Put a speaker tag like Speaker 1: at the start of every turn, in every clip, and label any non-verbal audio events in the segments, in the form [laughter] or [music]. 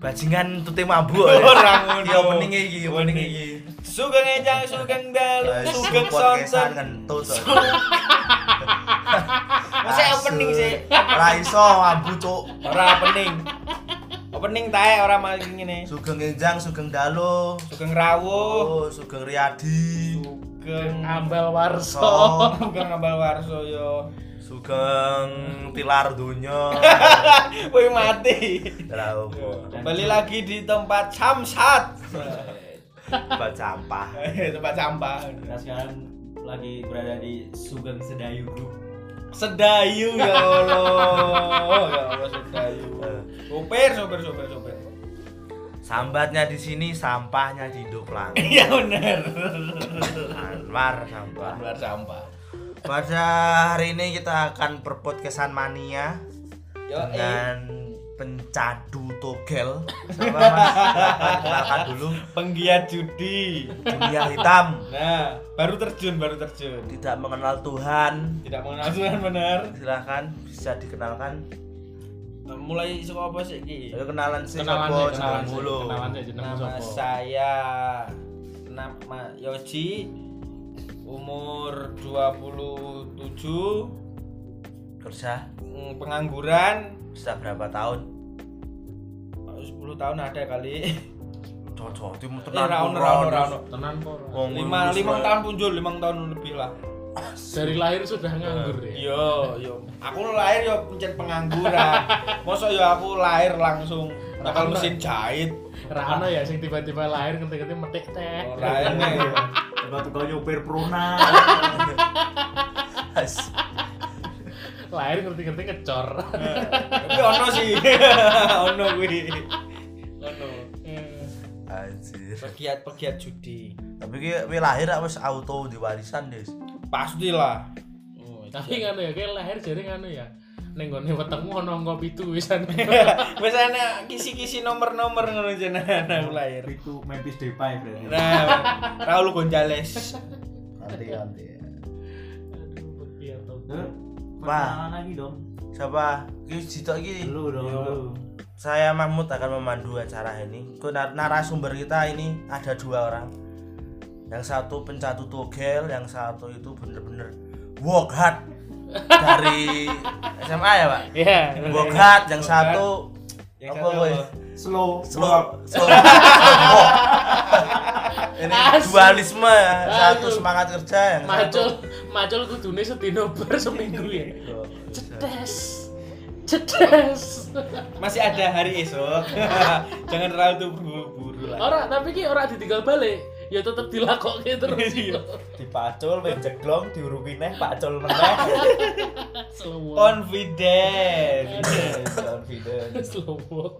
Speaker 1: bajingan tute mabuk.
Speaker 2: Ora ngono.
Speaker 3: Iya,
Speaker 1: Ya opening iki, opening iki.
Speaker 2: Sugeng enjang sugeng dalu
Speaker 3: Guys,
Speaker 2: sugeng
Speaker 3: podcastan
Speaker 2: sonten.
Speaker 3: kentut. [laughs]
Speaker 2: Masih opening sih.
Speaker 3: Ora iso abu cuk.
Speaker 2: Ora opening. Opening tae ora maling ngene.
Speaker 3: Sugeng Enjang, Sugeng Dalo,
Speaker 2: Sugeng
Speaker 3: oh,
Speaker 2: rawuh,
Speaker 3: Sugeng Riyadi,
Speaker 2: sugeng
Speaker 4: Ambal Warso.
Speaker 3: Sok,
Speaker 2: sugeng ambal warso yo.
Speaker 3: Sugeng Tilar Donya.
Speaker 2: Woi mati.
Speaker 3: Ora opo.
Speaker 2: Kembali lagi di tempat samsat.
Speaker 3: Bacampah.
Speaker 2: Eh, tempat sampah.
Speaker 5: Kita sekarang lagi berada di Sugeng Sedayu Group.
Speaker 2: Sedayu ya Allah. Ya Allah sedayu. Sopir, sopir, sopir, sopir.
Speaker 3: Sambatnya di sini, sampahnya di Indo Pelangi.
Speaker 2: Iya bener.
Speaker 3: Anwar sampah.
Speaker 2: Luar sampah.
Speaker 3: Pada hari ini kita akan berpodcastan mania
Speaker 2: Yo, eh.
Speaker 3: dan pencadu togel.
Speaker 4: [laughs]
Speaker 3: Siapa mas? Silakan Kenalkan dulu.
Speaker 2: penggiat judi.
Speaker 3: Dunia hitam
Speaker 2: Nah, baru terjun, baru terjun.
Speaker 3: tidak mengenal Tuhan.
Speaker 2: Tidak mengenal Tuhan benar.
Speaker 3: Silahkan bisa dikenalkan.
Speaker 2: Mulai saka apa sih iki?
Speaker 3: Ayo kenalan sih
Speaker 4: Kenalan
Speaker 3: sopo
Speaker 4: sih, kenalan
Speaker 3: jeneng
Speaker 4: sih,
Speaker 3: mulu.
Speaker 4: kenalan sih jenengmu
Speaker 2: Nama
Speaker 4: sapa?
Speaker 2: saya Nama Yoji Umur 27
Speaker 3: Kerja
Speaker 2: mm, Pengangguran
Speaker 3: sudah berapa tahun?
Speaker 2: 10 tahun ada kali [laughs]
Speaker 3: Cocok, itu
Speaker 4: Iya,
Speaker 2: Eh,
Speaker 3: tenan
Speaker 2: Rauno,
Speaker 3: kurang.
Speaker 2: Rauno, Rauno.
Speaker 4: Tenan po.
Speaker 3: Wong
Speaker 2: Lima,
Speaker 3: lulus
Speaker 2: lima
Speaker 3: wae.
Speaker 2: tahun punjul, lima tahun lebih lah
Speaker 4: Dari lahir sudah nganggur
Speaker 2: Iya.
Speaker 4: ya.
Speaker 2: Yo, yo, aku lahir yo pencet pengangguran. Mosok yo aku lahir langsung bakal mesin jahit.
Speaker 4: Rano ya sing tiba-tiba lahir ngerti-ngerti metik teh.
Speaker 2: Ora ene.
Speaker 5: Coba tukang nyopir Prona.
Speaker 4: Lahir ngerti-ngerti ngecor.
Speaker 2: Tapi ono sih. [laughs] Ono kuwi. Ono.
Speaker 3: Anjir.
Speaker 2: Pegiat-pegiat judi.
Speaker 3: Tapi ki ki lahir aku wis auto di warisan, Des.
Speaker 2: Pastilah.
Speaker 4: Tapi ngono ya, kayak lahir jadi ngono ya. Ning gone wetengmu ono angka 7 wisan. [laughs]
Speaker 2: Wis ana kisi-kisi nomor-nomor ngono jenengan aku lahir.
Speaker 5: Itu Memphis Depay berarti.
Speaker 2: Nah, Raul Gonzales.
Speaker 3: Nanti nanti.
Speaker 4: Iya toh.
Speaker 5: Terus,
Speaker 3: Wah.
Speaker 5: perkenalan lagi dong.
Speaker 3: Siapa? Ki jitok ki.
Speaker 5: Lu dong.
Speaker 2: Yo.
Speaker 5: lu.
Speaker 3: Saya Mahmud akan memandu acara ini. Ke nar- narasumber kita ini ada dua orang. Yang satu pencatu togel, yang satu itu bener-bener work hard dari SMA ya pak.
Speaker 4: Iya.
Speaker 3: Work hard, yang satu
Speaker 2: Yang
Speaker 3: apa
Speaker 2: satu
Speaker 3: woy?
Speaker 2: apa?
Speaker 5: Slow.
Speaker 3: Slow, slow, slow. [laughs] Ini
Speaker 4: Asli.
Speaker 3: dualisme ya. Satu
Speaker 4: Aduh.
Speaker 3: semangat kerja, yang satu
Speaker 4: Macul, macul kudune setino bar seminggu ya. Cetes. Cetes. [laughs]
Speaker 2: Masih ada hari esok. [laughs] Jangan terlalu tuh buru-buru lah.
Speaker 4: Ora, tapi ki ora ditinggal balik. Ya tetep dilakokke terus.
Speaker 2: Iya.
Speaker 5: Dipacul, menjeglong, diurupi neh, pacul meneh.
Speaker 4: Slow.
Speaker 2: Confident.
Speaker 5: Confidence.
Speaker 4: Slow.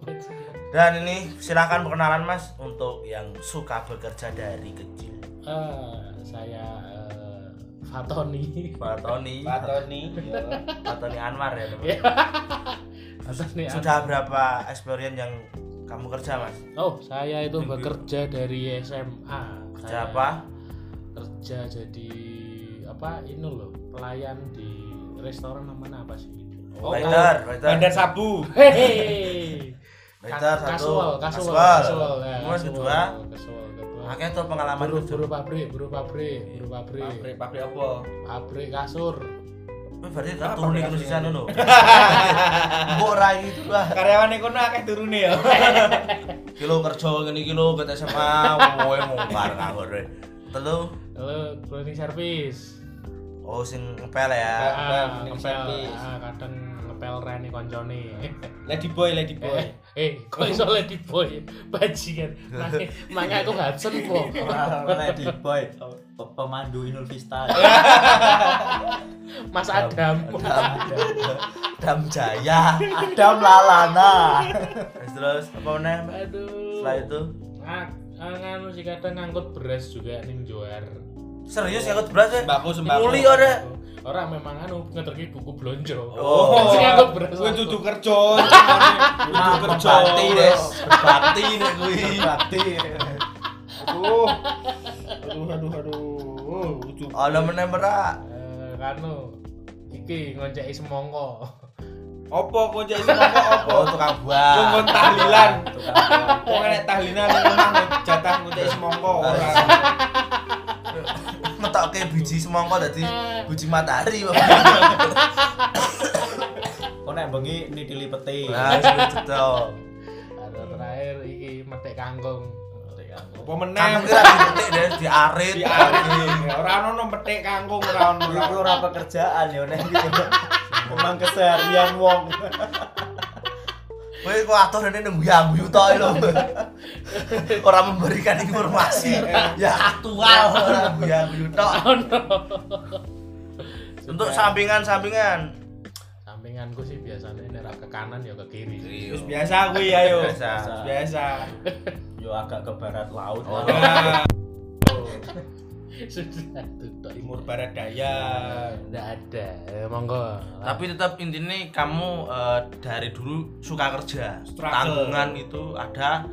Speaker 3: Dan ini silahkan perkenalan mas untuk yang suka bekerja dari kecil.
Speaker 4: Ah, saya eh, Fatoni.
Speaker 3: Pak Tony,
Speaker 2: Pak Tony.
Speaker 3: Pak Tony Anwar ya. teman.
Speaker 4: Ya. Fatoni.
Speaker 3: Sudah berapa experience yang kamu kerja mas?
Speaker 4: Oh, saya itu bekerja dari SMA.
Speaker 3: Kerja
Speaker 4: Saya
Speaker 3: apa?
Speaker 4: Kerja jadi apa? Ini loh, pelayan di restoran namanya apa sih?
Speaker 2: Oh,
Speaker 3: waiter, waiter,
Speaker 2: Bandar Sabu.
Speaker 4: Hehehe.
Speaker 3: waiter satu.
Speaker 4: Kasual, kasual,
Speaker 3: Kasual.
Speaker 4: ya,
Speaker 3: Kemudian kedua,
Speaker 4: kasual, kedua.
Speaker 3: akhirnya tuh pengalaman
Speaker 4: Buru,
Speaker 3: kerja.
Speaker 4: buru pabrik, buru pabrik, buru pabrik,
Speaker 2: Pabrik pabrik apa?
Speaker 4: pabrik kasur.
Speaker 3: Wih, Berarti kan turun ke Indonesia dulu. Mbok rai itu gitu lah.
Speaker 2: Karyawan kono akeh turune ya.
Speaker 3: Kilo kerja ngene kilo ke SMA, kowe mau bareng nganggur. we. Telu,
Speaker 4: Lalu cleaning service.
Speaker 3: oh sing ngepel ya.
Speaker 2: Ngepel,
Speaker 4: Ah,
Speaker 2: cleaning
Speaker 4: ngepel,
Speaker 2: service.
Speaker 4: ah, kadang ngepel rene koncone.
Speaker 2: Lady boy, lady boy.
Speaker 4: Eh, eh, kok iso lady boy bajingan. Mange- Mange aku Hudson po.
Speaker 5: Mana di boy? Pe- Pemandu Inul [laughs] Vista.
Speaker 4: Mas Adam.
Speaker 3: Dam Jaya.
Speaker 5: Adam Lalana.
Speaker 3: Terus terus apa meneh? Mbak?
Speaker 4: Aduh.
Speaker 3: Setelah itu
Speaker 4: Ah, ah, nganu sih kadang ngangkut beras juga ning Johar.
Speaker 3: serius ngangkut beras ya?
Speaker 2: Sembako, sembako.
Speaker 3: Muli ora.
Speaker 4: Orang memang anu ngeterki buku blonjo. [laughs]
Speaker 3: Oh.
Speaker 4: Sing ngangkut beras.
Speaker 2: Kuwi dudu kerja. Kuwi
Speaker 5: Nah,
Speaker 2: dudu kerja.
Speaker 3: Berbakti des, berbakti nih kui.
Speaker 5: Berarti.
Speaker 2: Aduh. Aduh aduh aduh. Ujung.
Speaker 3: Ono meneh merak.
Speaker 4: Eh, kanu iki ngonceki semongko.
Speaker 2: Opo kowe cek iso ngomong opo?
Speaker 3: Oh, tukang buah.
Speaker 2: Wong kon tahlilan.
Speaker 4: Tukang buah.
Speaker 2: Wong enek tahlilan ning omah jatah ngono cek semongko ora.
Speaker 3: Ngetokke biji semangka dadi biji matahari. Bang.
Speaker 5: Kok nek bengi nitili peti.
Speaker 3: Nah, segitu.
Speaker 4: Atau terakhir iki metik kangkung. Metik kangkung.
Speaker 2: Opo meneh
Speaker 3: Kan kira dipetik deh, diarit.
Speaker 2: diaring. Ora ono petik kangkung ora ono.
Speaker 5: Iku ora pekerjaan ya [laughs] nek iki. Emang keseharian wong.
Speaker 3: Kowe kok atur ini nunggu yang guyu tok lho. Ora memberikan informasi. Ya aktual ora nunggu yang guyu tok. Untuk sampingan-sampingan.
Speaker 4: sampinganku sih biasanya ini ke kanan ya ke kiri.
Speaker 2: Wis biasa kuwi
Speaker 3: Iya.
Speaker 2: ayo.
Speaker 3: Biasa.
Speaker 2: Wis Biasa.
Speaker 5: Yo agak ke barat laut.
Speaker 3: Oh.
Speaker 5: lah.
Speaker 2: Ya,
Speaker 4: Sudah tutup.
Speaker 2: timur barat daya.
Speaker 4: Tidak ada. Eh, monggo.
Speaker 3: Tapi tetap intinya kamu eh, dari dulu suka kerja.
Speaker 2: Struggle.
Speaker 3: Tanggungan itu ada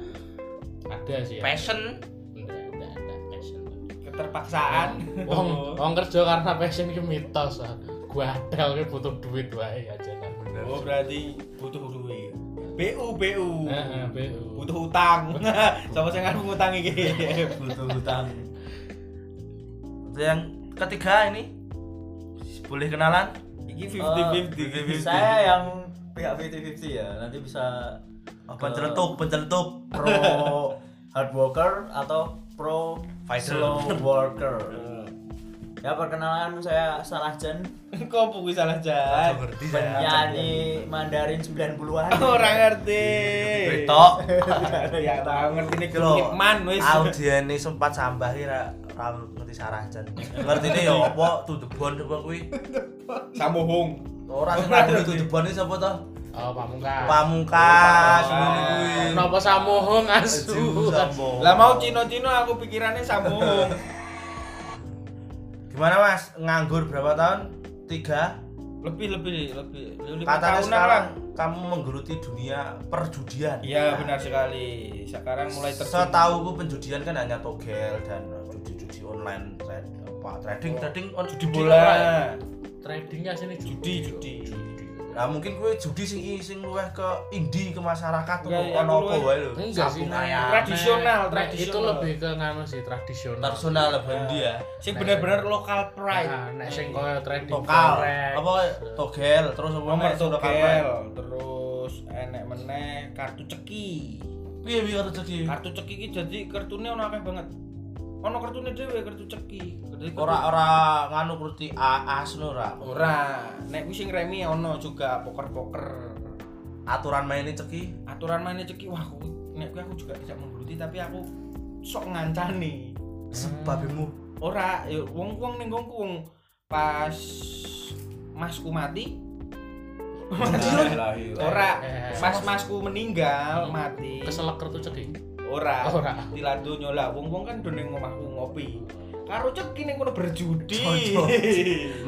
Speaker 4: ada sih. ya.
Speaker 3: passion.
Speaker 4: Nggak, nggak ada passion.
Speaker 2: Keterpaksaan.
Speaker 4: Wong wong kerja karena passion ki mitos. ah. Gua adel ki butuh duit wae ya, aja lah.
Speaker 2: Oh berarti butuh duit. BU BU.
Speaker 4: Heeh, BU.
Speaker 2: Butuh utang. [laughs] Sama sing aku ngutang iki.
Speaker 5: Butuh hutang.
Speaker 3: Terus Yang ketiga ini boleh kenalan?
Speaker 2: Iki Oh,
Speaker 5: Eh,
Speaker 2: 50-50.
Speaker 5: Saya yang pihak 50-50 ya. Nanti bisa
Speaker 3: Penceletuk, penceletuk.
Speaker 5: pro [laughs] hard worker atau pro
Speaker 3: Fighter.
Speaker 5: slow worker. ya perkenalan saya Sarah Jen,
Speaker 2: [laughs] Kok buku salah jalan?
Speaker 3: Ngerti
Speaker 5: penyanyi
Speaker 2: [laughs]
Speaker 5: Mandarin 90-an.
Speaker 2: Orang ngerti.
Speaker 3: Betok.
Speaker 2: [laughs]
Speaker 3: [laughs]
Speaker 2: ya tahu ngerti nih
Speaker 3: Kalau
Speaker 2: Nikman wis.
Speaker 3: Audien ini sempat sambah ki ra ra ngerti sarah jan. Ngertine ya apa to the bone apa kuwi.
Speaker 2: Samuhung.
Speaker 3: Ora sing ngadu to the bone iki sapa to?
Speaker 4: Oh, pamungkas.
Speaker 3: Pamungkas
Speaker 2: Ah.
Speaker 3: ngono kuwi.
Speaker 4: Napa samohong asu?
Speaker 2: Lah mau Cino-Cino aku pikirannya Samuhung.
Speaker 3: Gimana Mas? Nganggur berapa tahun? Tiga
Speaker 2: [laughs] lebih lebih lebih lima
Speaker 3: Katanya
Speaker 2: tahunan
Speaker 3: sekarang
Speaker 2: lah.
Speaker 3: kamu menggeluti dunia perjudian.
Speaker 2: Iya benar sekali. Sekarang mulai terjun.
Speaker 3: Setahuku penjudian kan hanya togel dan judi-judi online trade apa trading trading on judi
Speaker 2: bola.
Speaker 3: online.
Speaker 4: Tradingnya sini
Speaker 2: Judi judi.
Speaker 3: Nah mungkin gue judi sing sing luweh ke indie ke masyarakat tuh
Speaker 2: Ya, ya,
Speaker 3: ono apa
Speaker 2: aku luweh-
Speaker 3: wae lho.
Speaker 4: Enggak sih.
Speaker 3: Sabung
Speaker 4: Nek-
Speaker 3: ayam.
Speaker 2: Tradisional,
Speaker 4: nek Itu
Speaker 2: tradisional.
Speaker 4: lebih ke nganu sih tradisional.
Speaker 3: Personal lebih dia.
Speaker 2: Sing bener-bener lokal pride.
Speaker 4: Nah, nek sing koyo trading
Speaker 3: Tokal.
Speaker 4: forex.
Speaker 3: Apa togel terus apa
Speaker 2: nomor
Speaker 3: nek, sing lokal
Speaker 2: togel
Speaker 3: brand.
Speaker 2: terus enek meneh kartu ceki.
Speaker 3: Piye piye karo jadi
Speaker 2: Kartu ceki iki jadi kartune ono akeh banget. Ono kartune dhewe kartu ceki. Jadi kartu-
Speaker 3: ora ora nganu kurti AAS lho ora.
Speaker 2: ora. Nek kuwi sing remi ono juga poker-poker.
Speaker 3: Aturan mainnya ceki.
Speaker 2: Aturan mainnya ceki wah aku nek kuwi aku juga tidak menggeluti tapi aku sok ngancani.
Speaker 3: Sebabmu
Speaker 2: Ora, ya wong-wong ning ngongku wong pas masku mati [laughs] ora
Speaker 4: Eh.
Speaker 2: pas masku meninggal mati
Speaker 4: Keselak kartu ceki.
Speaker 2: ora
Speaker 4: Ora.
Speaker 2: tilar donya lah wong wong kan do ning omahku ngopi karo ceki ning kono berjudi [laughs]
Speaker 3: Cocok.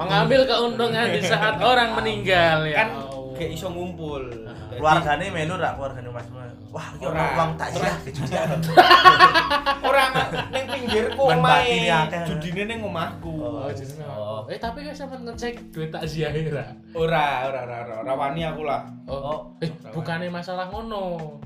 Speaker 4: Mengambil keuntungan di saat orang meninggal ya.
Speaker 2: kan
Speaker 4: Allah.
Speaker 2: gak iso ngumpul Jadi,
Speaker 3: keluargane melu ora keluargane Mas. Wah, iki ora
Speaker 2: Ora.
Speaker 3: uang takziah kejudian.
Speaker 2: [laughs] ora ning pinggirku
Speaker 3: Men
Speaker 2: omahe
Speaker 3: batine akeh.
Speaker 2: judine ning omahku
Speaker 4: Oh, jadi
Speaker 5: Oh.
Speaker 4: Eh, tapi kan sampean ngecek duit takziah ora?
Speaker 2: ora ora ora ora ora wani aku lah
Speaker 4: Oh, eh, bukannya masalah ngono.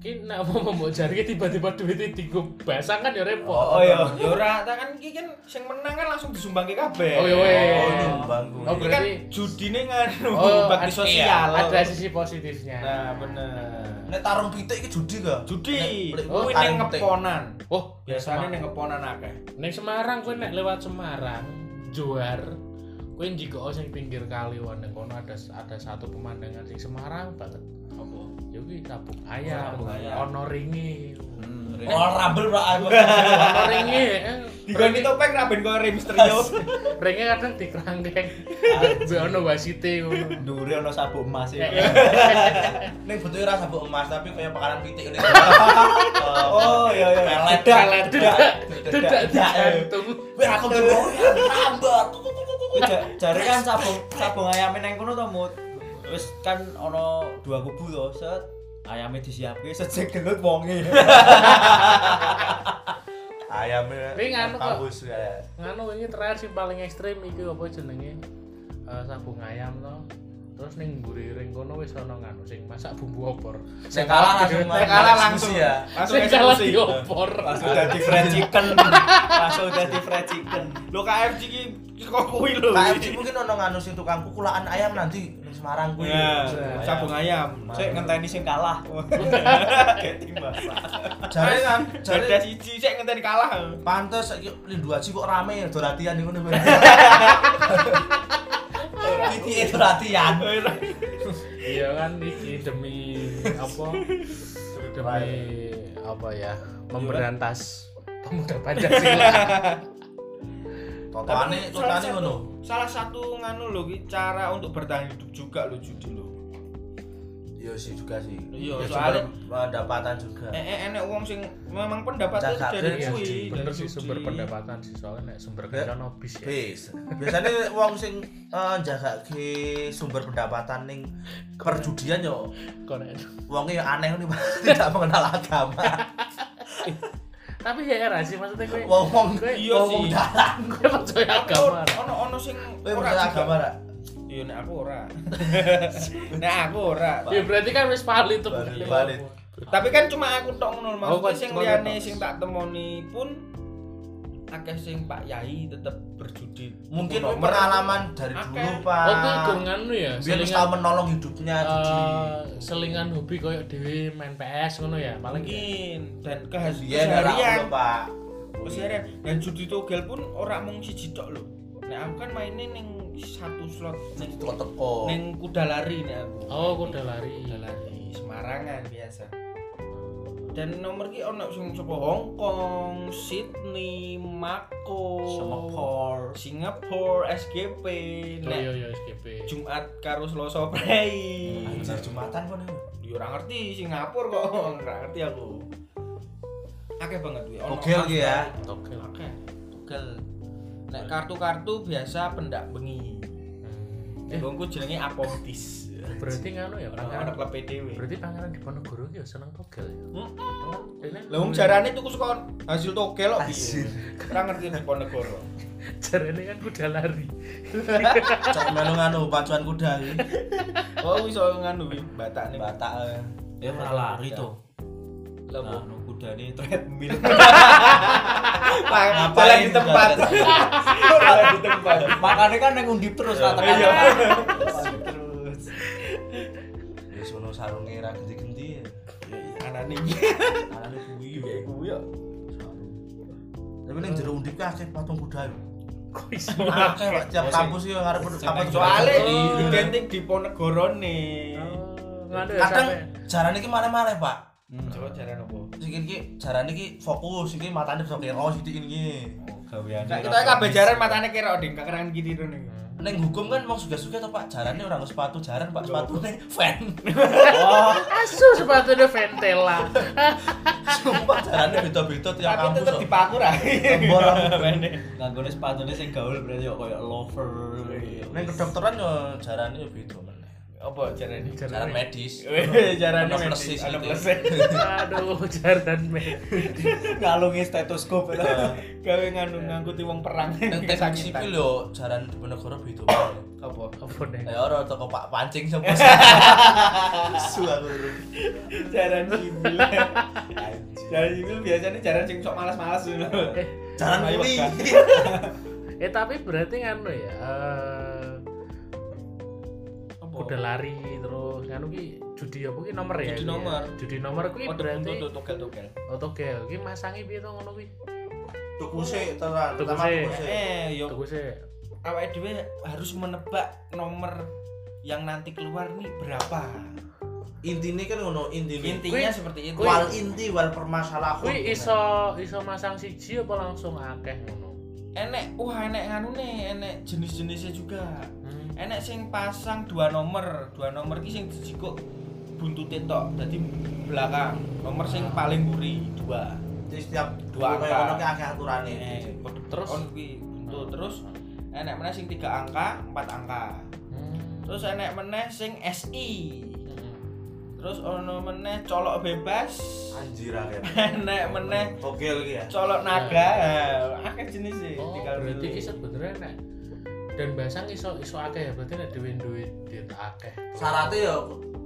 Speaker 4: Ki nek mau mbok jarke tiba-tiba duitnya digo basang kan ya repot.
Speaker 5: Oh, iya.
Speaker 2: ya ora ta kan iki kan sing menang kan langsung disumbangke kabeh
Speaker 4: Oh, iya, weh.
Speaker 3: Oh, nyumbang
Speaker 4: Oh,
Speaker 3: gue.
Speaker 2: Iki kan
Speaker 4: berarti-
Speaker 2: judine [laughs] nganu
Speaker 4: Oh,
Speaker 2: bakti
Speaker 4: ad-
Speaker 2: sosial
Speaker 4: iya, Ada sisi positifnya.
Speaker 2: nah bener
Speaker 3: Nek tarung pitik iki judi ga?
Speaker 2: judi
Speaker 3: Nek- nek-
Speaker 2: kuwi
Speaker 3: taring
Speaker 2: ning
Speaker 3: pitik.
Speaker 2: ngeponan
Speaker 4: Oh,
Speaker 2: biasanya ning ngeponan akeh
Speaker 4: Neng Semarang kowe nek lewat Semarang, Johar, kowe njiko sing pinggir kali wae neng kono ada ada satu pemandangan sing Semarang banget. Apa? Ya kuwi tabuk ayam,
Speaker 2: Tabuk ayam.
Speaker 4: ono ringi.
Speaker 3: Oh, rambel ora
Speaker 2: [laughs]
Speaker 3: aku.
Speaker 4: Ono ringi. eh.
Speaker 2: Digoni topeng ra ben koyo Rimstrio.
Speaker 4: Ringi kadang dikerangkeng. Be ono wasite ngono.
Speaker 5: Dure ono sabuk emas ya.
Speaker 3: Ning bentuke ora sabuk emas tapi kayak pakanan pitik ngene.
Speaker 2: [laughs]
Speaker 5: Oh iya iya.
Speaker 3: Pelet.
Speaker 4: Kalah dedak, dedak di
Speaker 5: dedak.
Speaker 4: jantung.
Speaker 3: Wih aku dulu tambah.
Speaker 5: Kuwi ja- jare kan sabung sabung ayam nang kono to mut. Wis kan ono dua kubu to, set ayame disiapke sejek gelut wonge.
Speaker 3: Ayamnya
Speaker 4: Tapi nganu kok.
Speaker 3: kampus ya.
Speaker 4: Nganu ini terakhir sing paling ekstrim iki apa jenenge? Eh, sabung ayam to. terus ning mburi ring kono wis ana nganu sing masak bumbu opor
Speaker 3: Saya kalah langsung
Speaker 2: Saya kalah langsung.
Speaker 3: eksekusi ya.
Speaker 2: Langsung
Speaker 4: sing salah
Speaker 2: eksekusi.
Speaker 4: diopor
Speaker 5: langsung jadi fried chicken langsung jadi fried chicken
Speaker 2: Lo KFC ki kok kuwi lho.
Speaker 3: KFC mungkin ono nganu sing tukang kukulaan ayam nanti ning Semarang kuwi.
Speaker 2: Ya,
Speaker 4: Ayam.
Speaker 2: sabung ayam.
Speaker 5: saya ngenteni sing kalah Getting masak.
Speaker 3: Jare kan
Speaker 2: Beda
Speaker 3: jare
Speaker 2: siji sik ngenteni kalah.
Speaker 3: pantes iki lindu aji kok rame ya doratian niku
Speaker 2: [laughs]
Speaker 3: niku. ya,
Speaker 5: Titi itu latihan
Speaker 4: iya kan iki demi apa demi apa ya Iya, memberantas pemuda Pancasila
Speaker 3: Totane
Speaker 2: Tapi
Speaker 3: totane
Speaker 2: salah
Speaker 3: ngono.
Speaker 2: satu- Salah satu nganu lho ki cara untuk bertahan hidup juga lho judi lho.
Speaker 3: Iya sih juga sih.
Speaker 2: Iya,
Speaker 3: Ya,
Speaker 2: soalnya-
Speaker 3: sumber pendapatan juga.
Speaker 2: Eh, eh enek wong sing memang pendapatnya
Speaker 3: Cakap
Speaker 2: dari
Speaker 3: dari
Speaker 2: kuwi.
Speaker 3: judi.
Speaker 4: bener
Speaker 2: dari
Speaker 4: Iya, sih
Speaker 2: judi.
Speaker 4: sumber pendapatan sih soalnya nek sumber
Speaker 3: Ya.
Speaker 4: kerja nobis ya
Speaker 3: Bis. Biasanya wong sing eh, jagake sumber pendapatan ning perjudian yo
Speaker 4: Konek.
Speaker 3: wonge yo aneh nih [laughs] tidak mengenal agama.
Speaker 4: tapi heran sih maksudnya gue
Speaker 3: Wong-wong
Speaker 2: Iya
Speaker 3: wong-wong
Speaker 2: sih.
Speaker 3: dalan.
Speaker 4: gue percaya
Speaker 2: Tapi
Speaker 4: agama
Speaker 2: Ono ono sing
Speaker 3: Kowe percaya
Speaker 2: juga.
Speaker 3: agama ra?
Speaker 2: Iya nek aku ora. [laughs] nek aku ora.
Speaker 4: ya berarti kan wis valid tuh
Speaker 3: Valid, valid.
Speaker 2: Tapi kan cuma aku tok ngono
Speaker 4: Oh,
Speaker 2: maksudnya
Speaker 4: kok
Speaker 2: sing
Speaker 4: cuma
Speaker 2: liyane
Speaker 4: tok.
Speaker 2: sing tak temoni pun akeh sing Pak Yai tetep berjudi.
Speaker 3: Mungkin
Speaker 2: Nomor.
Speaker 3: pengalaman dari
Speaker 2: Akeh.
Speaker 3: dulu,
Speaker 4: oh gue
Speaker 3: Pak.
Speaker 4: gungan lu ya
Speaker 3: Biar wis tau
Speaker 4: selingan
Speaker 3: menolong hidupnya jadi
Speaker 4: eh, selingan hobi koyo dewi main PS ngono ya paling ya.
Speaker 2: mungkin dan kehas-
Speaker 3: Iya, ora
Speaker 2: keseharian
Speaker 3: Pak.
Speaker 2: keseharian dan judi togel pun ora mung siji tok lho. Nek aku kan mainnya ning satu slot ning
Speaker 3: Teko teko.
Speaker 2: ning kuda lari nek aku.
Speaker 4: oh gue udah lari
Speaker 2: Kuda lari Semarangan biasa. Dan nomor ki ono sing saka Hong Kong, Sydney, Mako,
Speaker 5: Singapore.
Speaker 2: Singapura, SGP.
Speaker 4: oh
Speaker 2: Nek
Speaker 4: iya iya SGP
Speaker 2: Jumat karo Selasa Prei.
Speaker 3: Anjir Jumatan kok niku.
Speaker 2: Yo ora ngerti Singapura kok, ora ngerti aku. Akeh banget duwe. Ono
Speaker 3: Togel ki ya.
Speaker 4: oke lah
Speaker 2: Akeh. Togel. Nek kartu-kartu biasa pendak bengi.
Speaker 4: Hmm. eh
Speaker 2: Wongku jenenge apontis.
Speaker 4: berarti nganu ya
Speaker 2: Ora
Speaker 4: pangeran
Speaker 2: klep dhewe.
Speaker 4: berarti pangeran di Ponegoro ya seneng togel ya
Speaker 3: Hmm?
Speaker 4: Heeh.
Speaker 2: Lah wong jarane tuku saka hasil togel kok piye.
Speaker 3: Hasil.
Speaker 2: Ora ngerti Diponegoro.
Speaker 4: jarane kan kuda lari
Speaker 2: [laughs]
Speaker 3: Cok melu nganu pacuan kuda iki.
Speaker 2: Oh iso nganu kuwi batake
Speaker 3: Batak. eh.
Speaker 5: ya malah lari tuh
Speaker 2: Lah
Speaker 5: nah
Speaker 2: wong
Speaker 5: no kuda ini treadmill
Speaker 2: jalan di tempat. [laughs] Jalan di tempat.
Speaker 5: makanya kan yang undip terus
Speaker 2: Iya.
Speaker 5: katakan
Speaker 3: Terus. Wis ono sarunge ra genti-genti ya.
Speaker 2: Anane
Speaker 3: Alane kuwi.
Speaker 2: iki kayak kuwi yo.
Speaker 3: Tapi ning jero undip ki akeh patung kuda yo.
Speaker 4: kok
Speaker 2: [laughs]
Speaker 4: iso
Speaker 2: Ah.
Speaker 3: Akeh Pak. tiap kampus yo arep kampus
Speaker 2: Soale
Speaker 3: Iya.
Speaker 4: Oh.
Speaker 2: identik Diponegarone.
Speaker 4: nganu ya
Speaker 3: kadang
Speaker 4: sampe
Speaker 3: jarane ki mana-mana Pak.
Speaker 2: Coba jaran opo?
Speaker 3: Sikit ki jarane ki fokus iki matane bisa kero sithik ngene iki.
Speaker 5: gawean
Speaker 2: Nah, kita kabeh jaran matane kira ding kanan kiri rene.
Speaker 3: Neng hukum kan mau suga-suga tuh Pak, jarane orang sepatu jaran Pak, sepatu neng fan.
Speaker 4: asu sepatunya ventela
Speaker 3: [laughs]
Speaker 2: [laughs]
Speaker 3: Sumpah jarane beda-beda tiap
Speaker 2: Tapi
Speaker 3: kampus.
Speaker 2: tetep
Speaker 3: kok.
Speaker 2: dipaku ra. [laughs]
Speaker 3: Gembor
Speaker 5: [laughs]
Speaker 3: aku.
Speaker 5: nganggone sepatunya sing gaul berarti kok kayak lover
Speaker 3: Neng kedokteran yo jarane yo beda meneh.
Speaker 2: Opo jarane?
Speaker 3: Jaran medis.
Speaker 2: Weh, jarane
Speaker 3: Ono
Speaker 2: mesti
Speaker 3: persis
Speaker 2: ana
Speaker 3: gitu.
Speaker 2: plese.
Speaker 4: aduh [laughs] jaran me
Speaker 5: ngalungi [laughs] stetoskop itu
Speaker 2: Gawe nganu ngangkuti wong perang. [laughs]
Speaker 3: Neng teknik sipil yo jaran Diponegoro beda meneh.
Speaker 2: Apa?
Speaker 4: apa nih
Speaker 3: Ya ora toko Pak Pancing sapa. Su aku.
Speaker 2: Jaran sipil. Jaran sipil biasanya jaran sing sok malas-malas ngono.
Speaker 4: Eh,
Speaker 3: Jaran
Speaker 2: Ayo,
Speaker 3: kuwi.
Speaker 2: Pak.
Speaker 4: eh tapi berarti nganu ya eh,
Speaker 2: Apa?
Speaker 4: kuda lari terus nganu ki judi apa ki nomor ya
Speaker 2: Oh. Judi
Speaker 4: ki ya?
Speaker 2: nomor.
Speaker 4: judi nomor ki
Speaker 2: Oh,
Speaker 4: berarti
Speaker 2: tuh togel-togel.
Speaker 4: otogel ki masangi piye to ngono ki
Speaker 3: Tuku sik tenan,
Speaker 4: Tuku
Speaker 3: pertama
Speaker 4: sik.
Speaker 3: tuku sik.
Speaker 2: Eh, yo
Speaker 4: tuku sih
Speaker 2: awake dhewe harus menebak nomor yang nanti keluar nih berapa.
Speaker 3: Intine kan ngono, intine.
Speaker 2: Intinya
Speaker 4: Kui-
Speaker 2: seperti itu.
Speaker 3: Wal inti wal permasalahan.
Speaker 4: kuwi iso iso masang siji apa langsung akeh ngono
Speaker 2: Enek, wah enek nganu nih, enek jenis-jenisnya juga.
Speaker 4: Hmm.
Speaker 2: Enek sing pasang dua nomor, dua nomor ki sing dijikuk buntute tok. Dadi belakang nomor sing paling buri dua.
Speaker 3: Jadi setiap
Speaker 2: Dua
Speaker 3: dua Iya,
Speaker 2: angka.
Speaker 3: kaya ngono ki akeh aturane.
Speaker 2: terus
Speaker 4: Terus?
Speaker 2: kuwi buntut terus enek meneh sing tiga angka, empat angka.
Speaker 4: Hmm.
Speaker 2: Terus enek meneh sing SI. Terus ono meneh colok bebas.
Speaker 3: Anjir akeh.
Speaker 2: Enek meneh
Speaker 3: Togel iki ya.
Speaker 2: colok naga. Nah, Akeh jenis sih.
Speaker 4: oh
Speaker 2: tinggal
Speaker 4: berarti
Speaker 2: [laughs] milih.
Speaker 4: ki sebenarnya nek dan bahasa iso iso akeh ya berarti nek duwe duit duit akeh.
Speaker 3: Syaratnya ya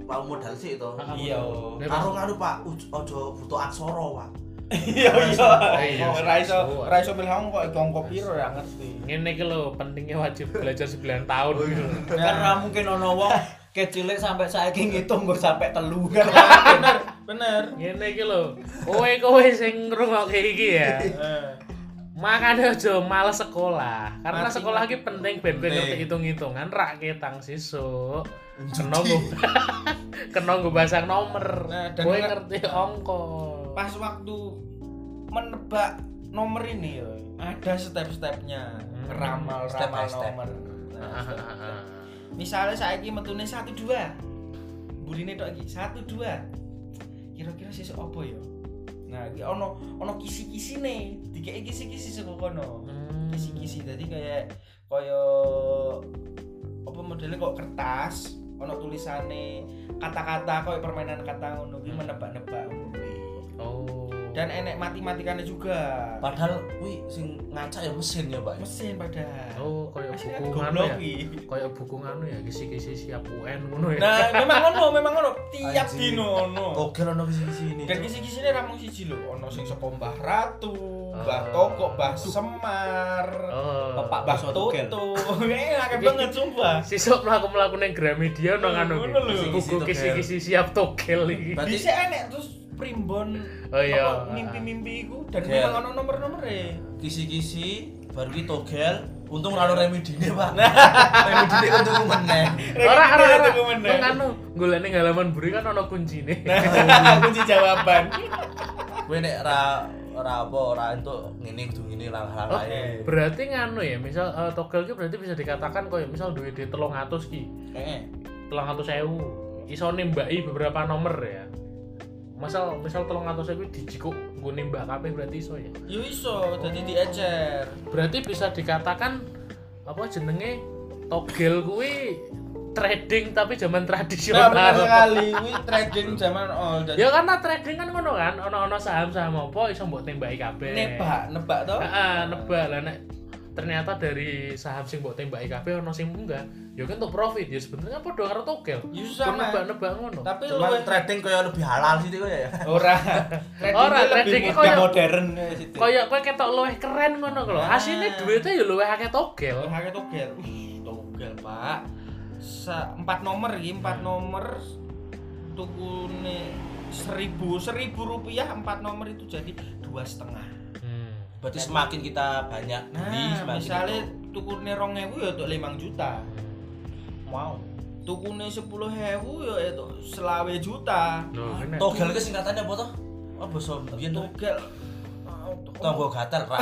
Speaker 3: Pak modal sih itu.
Speaker 4: Heeh,
Speaker 2: Iya.
Speaker 4: betul. Nek
Speaker 3: Karo nganu Pak, uj- ojo butuh aksara, Pak.
Speaker 2: Iya iya.
Speaker 4: Iya. Nah.
Speaker 2: Ora iso ora iso milih hong kok hong kok piro ya ngerti.
Speaker 4: ngene iki lho pentingnya wajib belajar 9 tahun gitu.
Speaker 5: Karena mungkin ono wong kecilik sampai saiki ngitung nggo sampai telu kan.
Speaker 2: bener bener.
Speaker 4: ngene iki lho kowe kowe sing ngrungokke iki ya
Speaker 2: Eh,
Speaker 4: makane aja males sekolah karena
Speaker 2: Mati.
Speaker 4: sekolah iki penting ben kowe
Speaker 1: Penting.
Speaker 4: ngerti hitung-hitungan rak ketang sesuk kena nggo [laughs] kena nggo pasang nomor
Speaker 2: Nah, dan
Speaker 4: kowe
Speaker 2: ora-
Speaker 4: ngerti angka
Speaker 2: Pas waktu menebak nomor ini yo, ada step-stepnya
Speaker 4: Hmm.
Speaker 2: ramal
Speaker 3: Step
Speaker 2: ramal
Speaker 3: by step.
Speaker 2: nomor.
Speaker 4: Ah,
Speaker 2: Nah, step-step. Misalnya saiki metune 1 2. Burine tok iki 1 2. Kira-kira sesuk apa ya? Nah, iki ono ono kisi-kisine, dikeki kisi-kisi saka kono.
Speaker 4: Hmm.
Speaker 2: kisi-kisi jadi kayak kaya apa modelnya kok kertas ono tulisane kata-kata kaya permainan kata ngono kuwi
Speaker 4: Hmm.
Speaker 2: menebak-nebak ngono kuwi.
Speaker 4: oh
Speaker 2: dan enek matematikannya juga
Speaker 3: Padahal kuwi sing ngacak ya mesin ya, Pak.
Speaker 2: mesin padahal
Speaker 4: oh koyo
Speaker 2: Mesinnya
Speaker 4: buku nganu
Speaker 2: goblok
Speaker 4: ya
Speaker 2: kuwi.
Speaker 4: koyo buku nganu ya kisi-kisi siap UN ngono ya
Speaker 2: nah memang ngono memang ngono tiap
Speaker 3: Anjing.
Speaker 2: dino ono
Speaker 3: Oke ono sing sini.
Speaker 2: dan kisi-kisine ra mung siji lho ono sing saka Mbah Ratu
Speaker 4: Ah.
Speaker 2: Mbah Togok Mbah Semar
Speaker 4: oh
Speaker 5: Bapak
Speaker 2: Mbah
Speaker 5: Baso
Speaker 2: Toto
Speaker 5: Togel.
Speaker 2: [laughs] eh akeh banget sumpah
Speaker 4: sesuk mlaku mlaku ning Gramedia nang anu
Speaker 2: Ngono lho.
Speaker 4: iki. buku kisi-kisi siap togel iki
Speaker 3: Berarti-
Speaker 2: bisa enek terus primbon
Speaker 4: Oh iya.
Speaker 2: apa, mimpi-mimpi iku dan
Speaker 3: Iya.
Speaker 2: memang ono nomor-nomere
Speaker 3: Kisi-kisi baru ki togel, untung ora ono remedine, [laughs] Pak. remedine Iya. untung meneh.
Speaker 4: Ora ora ora.
Speaker 2: Aku meneh.
Speaker 4: Nang anu golekne halaman buri kan ana kuncine.
Speaker 2: nah [laughs] kunci jawaban
Speaker 3: Kowe nek ra ora apa ora entuk ngene kudu ngene lah hal
Speaker 4: Oh,
Speaker 3: lain.
Speaker 4: berarti nganu ya, misal eh, togel ki berarti bisa dikatakan koyo misal duwe di 300 ki,
Speaker 2: Eh,
Speaker 4: 300.000. Iso nembaki beberapa nomor ya. Misal misal 300 kuwi dijikuk nggo nembak kabeh berarti iso ya.
Speaker 2: yo iso dadi diecer
Speaker 4: Berarti bisa dikatakan apa jenenge togel kuwi trading tapi zaman
Speaker 2: nah
Speaker 4: tradisional.
Speaker 2: benar sekali kuwi trading zaman all dadi
Speaker 4: Ya karena trading kan ngono kan, ono-ono saham-saham apa iso mbok tembaki kabeh.
Speaker 2: nebak nebak to
Speaker 4: Heeh, nebak lah nek ternyata dari saham sing mbok tembaki kabeh ono sing munggah, ya kan untuk profit. Ya sebenarnya padha karo togel.
Speaker 2: yo
Speaker 4: Kon
Speaker 2: sama
Speaker 4: nebak-nebak ngono.
Speaker 2: tapi lu
Speaker 3: Cuman trading koyo lebih halal sih koyo ya.
Speaker 2: [laughs] ora
Speaker 4: Ora,
Speaker 2: lebih
Speaker 4: trading
Speaker 2: mod-
Speaker 4: koyo-
Speaker 2: modern ya, situ
Speaker 4: Kayak kowe ketok luwih keren ngono lho.
Speaker 2: Nah.
Speaker 4: Asine duwite ya luwih akeh togel.
Speaker 2: Hake togel. Wih, togel, Pak. Sa empat nomor iki, empat nomor tukune seribu seribu rupiah empat nomor itu jadi dua setengah
Speaker 4: Hmm.
Speaker 3: Berarti semakin kita banyak
Speaker 2: nah
Speaker 3: beli semakin
Speaker 2: misalnya tukune rong ewu ya untuk limang juta wow tukune sepuluh ewu ya itu selawe juta
Speaker 4: Lho,
Speaker 3: itu.
Speaker 4: kene.
Speaker 3: togel ki singkatannya apa toh? Oh basa mbiyen tuh
Speaker 2: togel [laughs]
Speaker 3: tonggo gatel ra.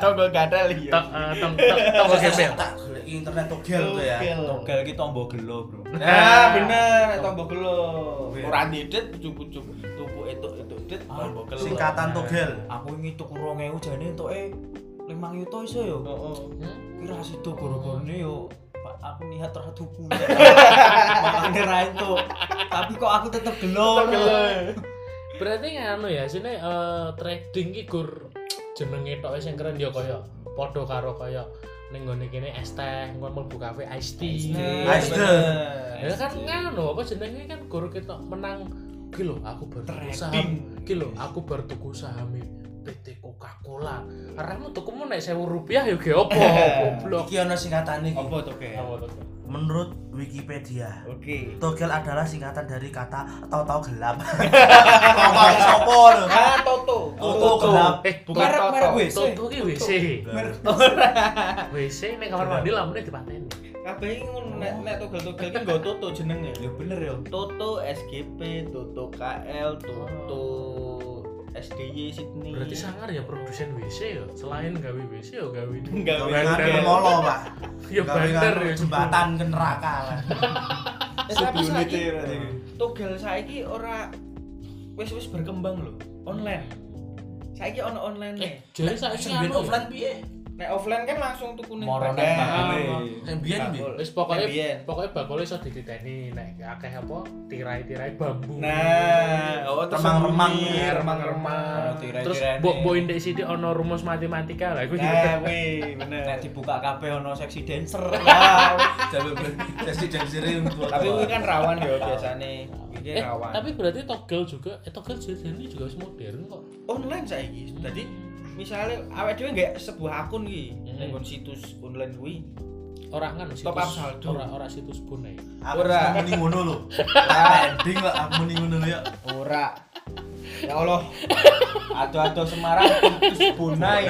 Speaker 2: togel gadal iya
Speaker 4: Tok eh, tong tong tonggo gembel.
Speaker 3: Tak golek ki internet togel tuh ya.
Speaker 5: Togel ki tombo gelo, Bro.
Speaker 2: nah bener tombol gelo ora didet pucuk-pucuk tuku itu itu dit tombol gelo
Speaker 3: Singkatan togel. Nah.
Speaker 5: Aku ngitung 2000 jane entuke 5 yuto iso yo.
Speaker 2: Heeh.
Speaker 4: Hmm?
Speaker 5: Kira sido goro-gorone yo Pak, aku niat ora [laughs] tuku. Makane ra entuk. Tapi kok aku tetep gelo.
Speaker 4: Berarti ngono ya, sini eh, trading ki gur jenenge tok sing keren ya kaya padha karo kaya ning nggone kene es teh, nggon mlebu kafe ice tea.
Speaker 2: Nah,
Speaker 3: Ice tea.
Speaker 2: bener.
Speaker 4: Ya kan ngono, apa jenenge kan guru kita menang ki lho, aku baru tuku saham.
Speaker 2: Trading.
Speaker 4: Ki lho, aku baru tuku saham PT Coca-Cola. Arahmu tukumu nek 1000 rupiah ya ge opo, goblok.
Speaker 3: Iki ono singkatane iki.
Speaker 2: Apa tuh Ke?
Speaker 3: Menurut Wikipedia,
Speaker 2: Oke.
Speaker 3: togel adalah singkatan dari kata tahu-tahu [laughs] gelap. Tahu-tahu sopo lho.
Speaker 2: Ah, Toto.
Speaker 3: Toto gelap.
Speaker 4: Eh,
Speaker 2: Bukan
Speaker 5: Merek-
Speaker 2: Toto.
Speaker 5: merek WC.
Speaker 4: tuku ki WC. WC ning kamar mandi lamune dipateni.
Speaker 2: Kabeh iki ngono nek nek togel-togel iki nggo Toto jenenge.
Speaker 5: Ya bener yo.
Speaker 2: Toto SGP, Toto KL, Toto SDY Sydney.
Speaker 4: Berarti sangar ya produsen WC ya. Selain gawe WC ya gawe ini.
Speaker 2: enggak
Speaker 3: Gawe
Speaker 2: bener.
Speaker 3: ngene molo, Pak.
Speaker 4: Ya
Speaker 3: Gawe
Speaker 4: banter
Speaker 3: nganu
Speaker 4: ya
Speaker 3: jembatan ke neraka lah.
Speaker 2: Eh, tapi saiki togel saiki ora wis-wis berkembang lho, online. Saiki ono online
Speaker 4: Eh,
Speaker 2: nih.
Speaker 4: jadi saiki
Speaker 3: Sing ben
Speaker 4: anu ya.
Speaker 3: offline piye?
Speaker 2: Nek offline kan langsung tuku ning
Speaker 5: Moronet
Speaker 2: Bagan.
Speaker 5: bakule.
Speaker 2: Ah,
Speaker 4: Yang biyen iki.
Speaker 2: Bakul.
Speaker 4: Wis pokoke
Speaker 2: Yang biyen.
Speaker 4: pokoke bakule iso diditeni nek akeh apa tirai-tirai bambu. Iya,
Speaker 2: Nah, oh terus Oh,
Speaker 3: Remang-remang.
Speaker 2: sembunyi,
Speaker 5: Ono
Speaker 4: remang-remang.
Speaker 5: tirai-tirai
Speaker 4: Terus
Speaker 5: nih.
Speaker 4: mbok mbok ndek sithik ana rumus matematika lah iku.
Speaker 3: Eh,
Speaker 2: Nah, weh,
Speaker 5: Nek
Speaker 2: bener.
Speaker 5: dibuka kabeh ono seksi dancer.
Speaker 3: Jabe Jadi jam siri
Speaker 2: Tapi kuwi kan rawan ya biasane. Iki
Speaker 4: Eh,
Speaker 2: rawan.
Speaker 4: tapi berarti togel juga, eh togel jadi juga wis modern kok. Hmm.
Speaker 2: online saiki. Jadi misalnya awake dhewe nggak sebuah akun iki ning nggon situs online kuwi.
Speaker 4: Ora kan situs
Speaker 2: up saldo.
Speaker 4: ora ora situs pun ya.
Speaker 3: Aku
Speaker 2: Ora.
Speaker 3: ora muni ngono lho. Landing kok aku muni ngono lho ya.
Speaker 2: Ora. Ya Allah.
Speaker 5: Aduh-aduh Semarang putus bunai.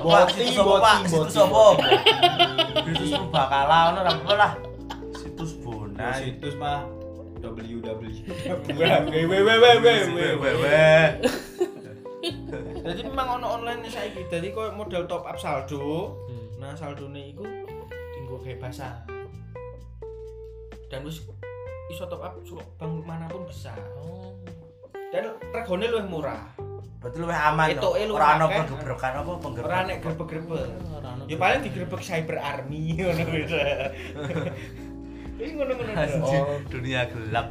Speaker 3: Wah,
Speaker 5: Boti,
Speaker 3: situs apa,
Speaker 5: boti,
Speaker 3: Pak?
Speaker 5: boti,
Speaker 3: Situs
Speaker 5: boti.
Speaker 3: apa? Situs Purbakala ngono ora apa lah. Situs
Speaker 5: Nah,
Speaker 3: Bonai.
Speaker 5: situs mah www.
Speaker 2: Weh, weh, weh, weh, weh, weh.
Speaker 3: Weh.
Speaker 2: Jadi memang ono online saiki. Jadi koyo model top up saldo.
Speaker 4: Hmm.
Speaker 2: Nah, saldone iku tinggo kebebasan. Dan wis iso top up suruh bank manapun bisa.
Speaker 4: Oh.
Speaker 2: Dan regane luwih murah.
Speaker 3: Berarti lu aman. no?
Speaker 2: Etoke lu
Speaker 3: Ora ono
Speaker 2: akeh.
Speaker 3: penggebrokan apa penggebrokan.
Speaker 2: Ora nek grebek-grebek.
Speaker 4: Ora ono.
Speaker 2: Ya paling digrebek cyber army [laughs] ngono wis. Wis ngono-ngono doang.
Speaker 3: Anjing, dunia gelap.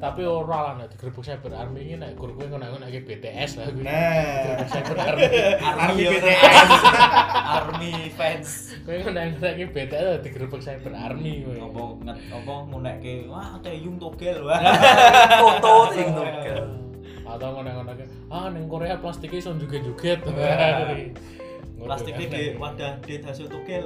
Speaker 4: Tapi ora lah nek digrebek cyber army iki nek gur kowe ngono nek BTS lah kuwi.
Speaker 2: Nah,
Speaker 4: Digrebek cyber army.
Speaker 2: army
Speaker 5: Army
Speaker 2: BTS.
Speaker 5: Army fans.
Speaker 4: Kowe ngono nek BTS lah digrebek cyber army kowe.
Speaker 5: Apa nget apa ngunekke wah teyung togel wah.
Speaker 3: [laughs] Foto sing togel.
Speaker 4: Atau ngono-ngono iki, ah ning Korea plastik iso joget-joget.
Speaker 2: Iya.
Speaker 5: Plastiknya di wadah di hasil togel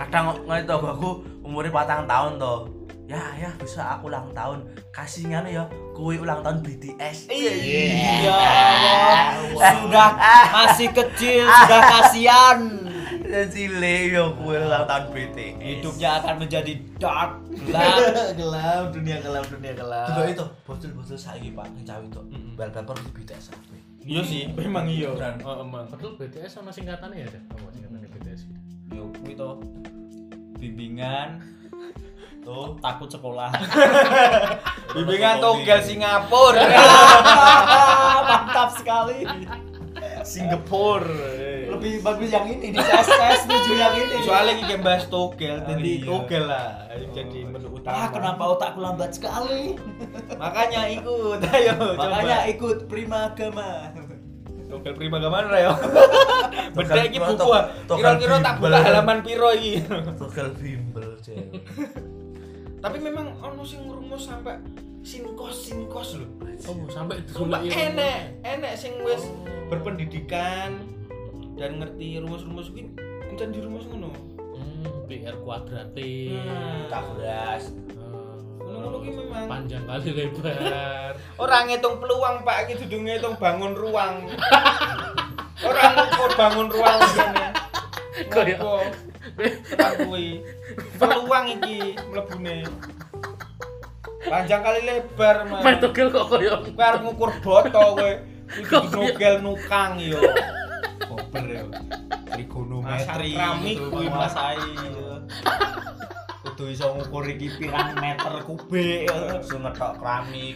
Speaker 3: Kadang ngene to aku umure patang tahun to. Ya, ya bisa aku ulang tahun. Kasih ngene ya, kue ulang tahun BTS.
Speaker 5: Iya, sudah masih kecil, sudah kasihan.
Speaker 3: Dan cilik ya kue ulang tahun BTS.
Speaker 5: Hidupnya akan menjadi dark, gelap.
Speaker 3: gelap dunia gelap dunia gelap juga itu bocil bocil saya pak yang cawe itu bal bal perlu BTS aku
Speaker 2: Iya sih, memang iya.
Speaker 3: Beneran.
Speaker 2: Heeh, emang.
Speaker 4: Padahal BTS sama singkatannya ya, Dek. Apa singkatannya BTS?
Speaker 5: Yo, kuwi to gitu. bimbingan tuh takut sekolah.
Speaker 2: Bimbingan togel Singapura.
Speaker 5: Ah, Mantap sekali.
Speaker 2: Singapura.
Speaker 5: Lebih bagus yang ini di tes tes tujuh yang ini.
Speaker 2: Soalnya kita bahas togel, jadi
Speaker 5: iya.
Speaker 2: togel lah. Jadi menu utama.
Speaker 5: Ah, kenapa otakku lambat sekali?
Speaker 2: Makanya ikut, [laughs] ayo
Speaker 5: Makanya ikut prima agama.
Speaker 2: coba. Togel prima gimana [laughs] Rayo? Beda
Speaker 3: Togel
Speaker 2: iki
Speaker 3: prima,
Speaker 2: buku.
Speaker 3: togel-
Speaker 2: ah.
Speaker 3: togel
Speaker 2: Kira-kira tak
Speaker 3: bimbel.
Speaker 2: buka halaman piro iki.
Speaker 3: togel bimbel cewek
Speaker 2: [laughs] Tapi memang ono sing ngrumus sampai sinkos sinkos lho. Iya,
Speaker 4: Oh, sampai
Speaker 2: Sumpah
Speaker 4: digoleki.
Speaker 2: enek, enek sing wis berpendidikan dan ngerti rumus-rumus kuwi encen dirumus ngono.
Speaker 4: Hmm, PR kuadratik.
Speaker 2: Nah,
Speaker 3: beras
Speaker 2: ngono-ngono kuwi memang
Speaker 4: Eh, panjang kali
Speaker 2: [laughs]
Speaker 4: lebar. [laughs]
Speaker 2: Orang ngitung peluang pak, iki dudu ngitung bangun ruang. Orang ngukur bangun ruang ngene.
Speaker 4: Kaya-
Speaker 2: Ngopo? Orang kuwi. Peluang iki mlebune. Panjang kali lebar,
Speaker 4: Main
Speaker 2: Mas.
Speaker 4: togel kok koyo.
Speaker 2: Kowe arep ngukur boto kowe. Kudu nugel nukang yo. Koper yo.
Speaker 5: Trigonometri.
Speaker 2: Masak keramik kuwi, Mas.
Speaker 5: masai. gitu, Kudu iso ngukur iki pirang meter kubik.
Speaker 3: langsung ngetok keramik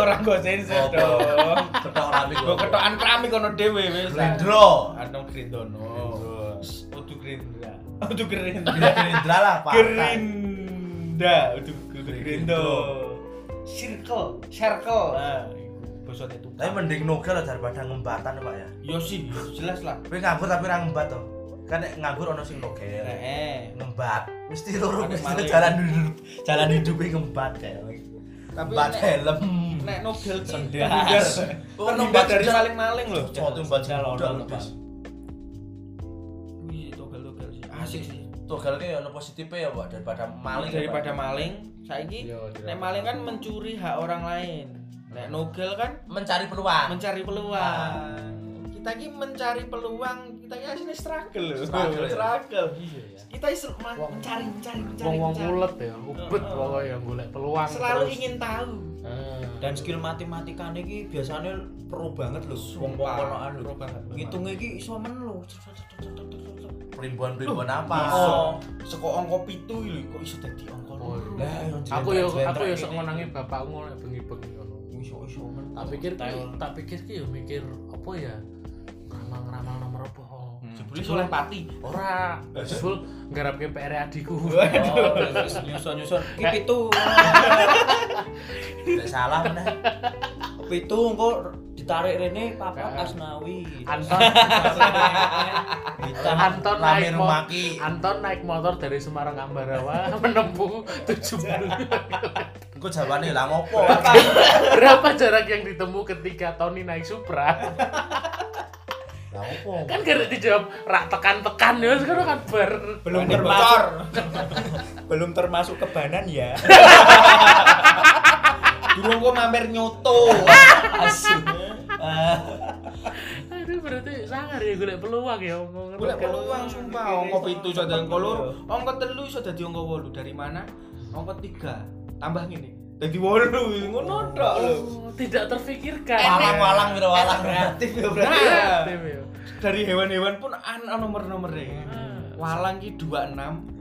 Speaker 2: Orang go sensor
Speaker 3: Opo.
Speaker 2: dong.
Speaker 3: ngetok keramik
Speaker 2: Go ketokan keramik ono dhewe wis.
Speaker 3: Glendro
Speaker 2: Anong Grindono. Oh, Udu Grindra. [laughs] Udu
Speaker 3: Gila
Speaker 2: Grindra.
Speaker 3: Gerindra lah pak
Speaker 2: Gerinda. Udu Udu Grindo.
Speaker 3: Grindo.
Speaker 2: Circle, circle. Nah, basa tetu.
Speaker 3: tapi mending nogel lah daripada ngembatan pak ya
Speaker 2: Yo sih, jelas lah.
Speaker 3: tapi nganggur tapi orang ngembat toh kan nek nganggur ono sing
Speaker 2: Nah,
Speaker 3: nogel
Speaker 2: Eh,
Speaker 3: ngembat mesti loro
Speaker 2: Ada
Speaker 3: mesti
Speaker 2: maling.
Speaker 3: jalan hidup jalan hidupnya ngembat kayak
Speaker 2: tapi
Speaker 3: ngembat
Speaker 2: nek-
Speaker 3: helm
Speaker 2: nek Nobel ki
Speaker 5: Sendas.
Speaker 2: [laughs] terhindar.
Speaker 3: Oh,
Speaker 2: Terhindar dari
Speaker 3: Nobel.
Speaker 2: maling-maling loh.
Speaker 3: Cowok tuh ngembat
Speaker 5: Jalan,
Speaker 3: budal,
Speaker 5: Pak.
Speaker 3: Mas.
Speaker 2: Wih, togel-togel sih. Asik sih.
Speaker 3: togel ini ono positifnya ya pak daripada maling
Speaker 2: daripada Iya. maling, saiki
Speaker 4: Yo,
Speaker 2: nek maling kan mencuri hak orang lain. Nek nogel kan
Speaker 3: mencari peluang
Speaker 2: mencari peluang Nah. kita ini mencari peluang kita ini aslinya struggle loh
Speaker 3: Struggle ya?
Speaker 2: struggle
Speaker 4: Iya ya.
Speaker 2: kita ini sel- ma-
Speaker 4: Wong-
Speaker 2: mencari mencari mencari,
Speaker 4: Wong-wong
Speaker 2: mencari.
Speaker 4: ulet ya, ubet
Speaker 2: Heeh.
Speaker 4: pokoknya golek peluang.
Speaker 2: selalu
Speaker 4: terus.
Speaker 2: ingin tahu
Speaker 4: Ah.
Speaker 5: Dan skill matematikane iki biasanya pro banget lho. Wong wong
Speaker 2: Sumpah,
Speaker 5: konoan lho.
Speaker 2: pro banget, pro
Speaker 5: Ngitung iki iso men lho.
Speaker 3: perimbuan perimbuan apa Oh,
Speaker 2: iso seko angka pitu lho Hmm. kok iso dadi angka
Speaker 4: Oh,
Speaker 2: loro?
Speaker 4: iya.
Speaker 5: Lah,
Speaker 4: Aku
Speaker 5: yang
Speaker 4: yo aku yo
Speaker 5: jlentrek-jlentrek
Speaker 4: sok
Speaker 5: ini.
Speaker 4: ngonangi bapakku ngono bengi-bengi ngono.
Speaker 5: iso iso men.
Speaker 4: Tak pikir
Speaker 5: Tahu.
Speaker 4: tak pikir ki yo mikir apa ya? ramal-ramal nomor apa?
Speaker 2: Jebule soleh pati.
Speaker 4: Ora, jebul nggarapke PR [laughs] adikku.
Speaker 5: Oh, terus nyusun-nyusun ki pitu.
Speaker 3: Tidak salah meneh.
Speaker 5: Pitu engko ditarik rene papat Asnawi.
Speaker 4: Anton
Speaker 5: Hitam.
Speaker 4: Anton naik
Speaker 3: Lamir
Speaker 4: mo-
Speaker 3: maki.
Speaker 4: Anton naik motor dari Semarang ke [laughs] Ambarawa menempuh 70
Speaker 3: Engko jawabannya lah ngopo.
Speaker 4: Berapa jarak yang ditemu ketika Tony naik Supra?
Speaker 3: Lah ngopo.
Speaker 4: Kan gara dijawab rak tekan-tekan ya sekarang kan bar.
Speaker 5: [laughs] Belum
Speaker 2: Wani
Speaker 5: termasuk. Belum termasuk kebanan ya.
Speaker 2: Durung kok mampir [laughs] nyoto.
Speaker 5: Asu. Ah,
Speaker 4: Aduh berarti sangar ya golek peluang ya ngomong.
Speaker 2: Golek peluang sumpah angka 7 iso dadi angka loro, angka 3 iso dadi angka 8. Dari mana? Angka 3 tambah ngene. Dadi 8 ngono tok lho.
Speaker 4: Oh, tidak terfikirkan.
Speaker 3: Walang-walang wira walang.
Speaker 2: Kreatif ya berarti.
Speaker 4: Nah,
Speaker 2: ya. Dari hewan-hewan pun ana nomor-nomore. Walang ki 26.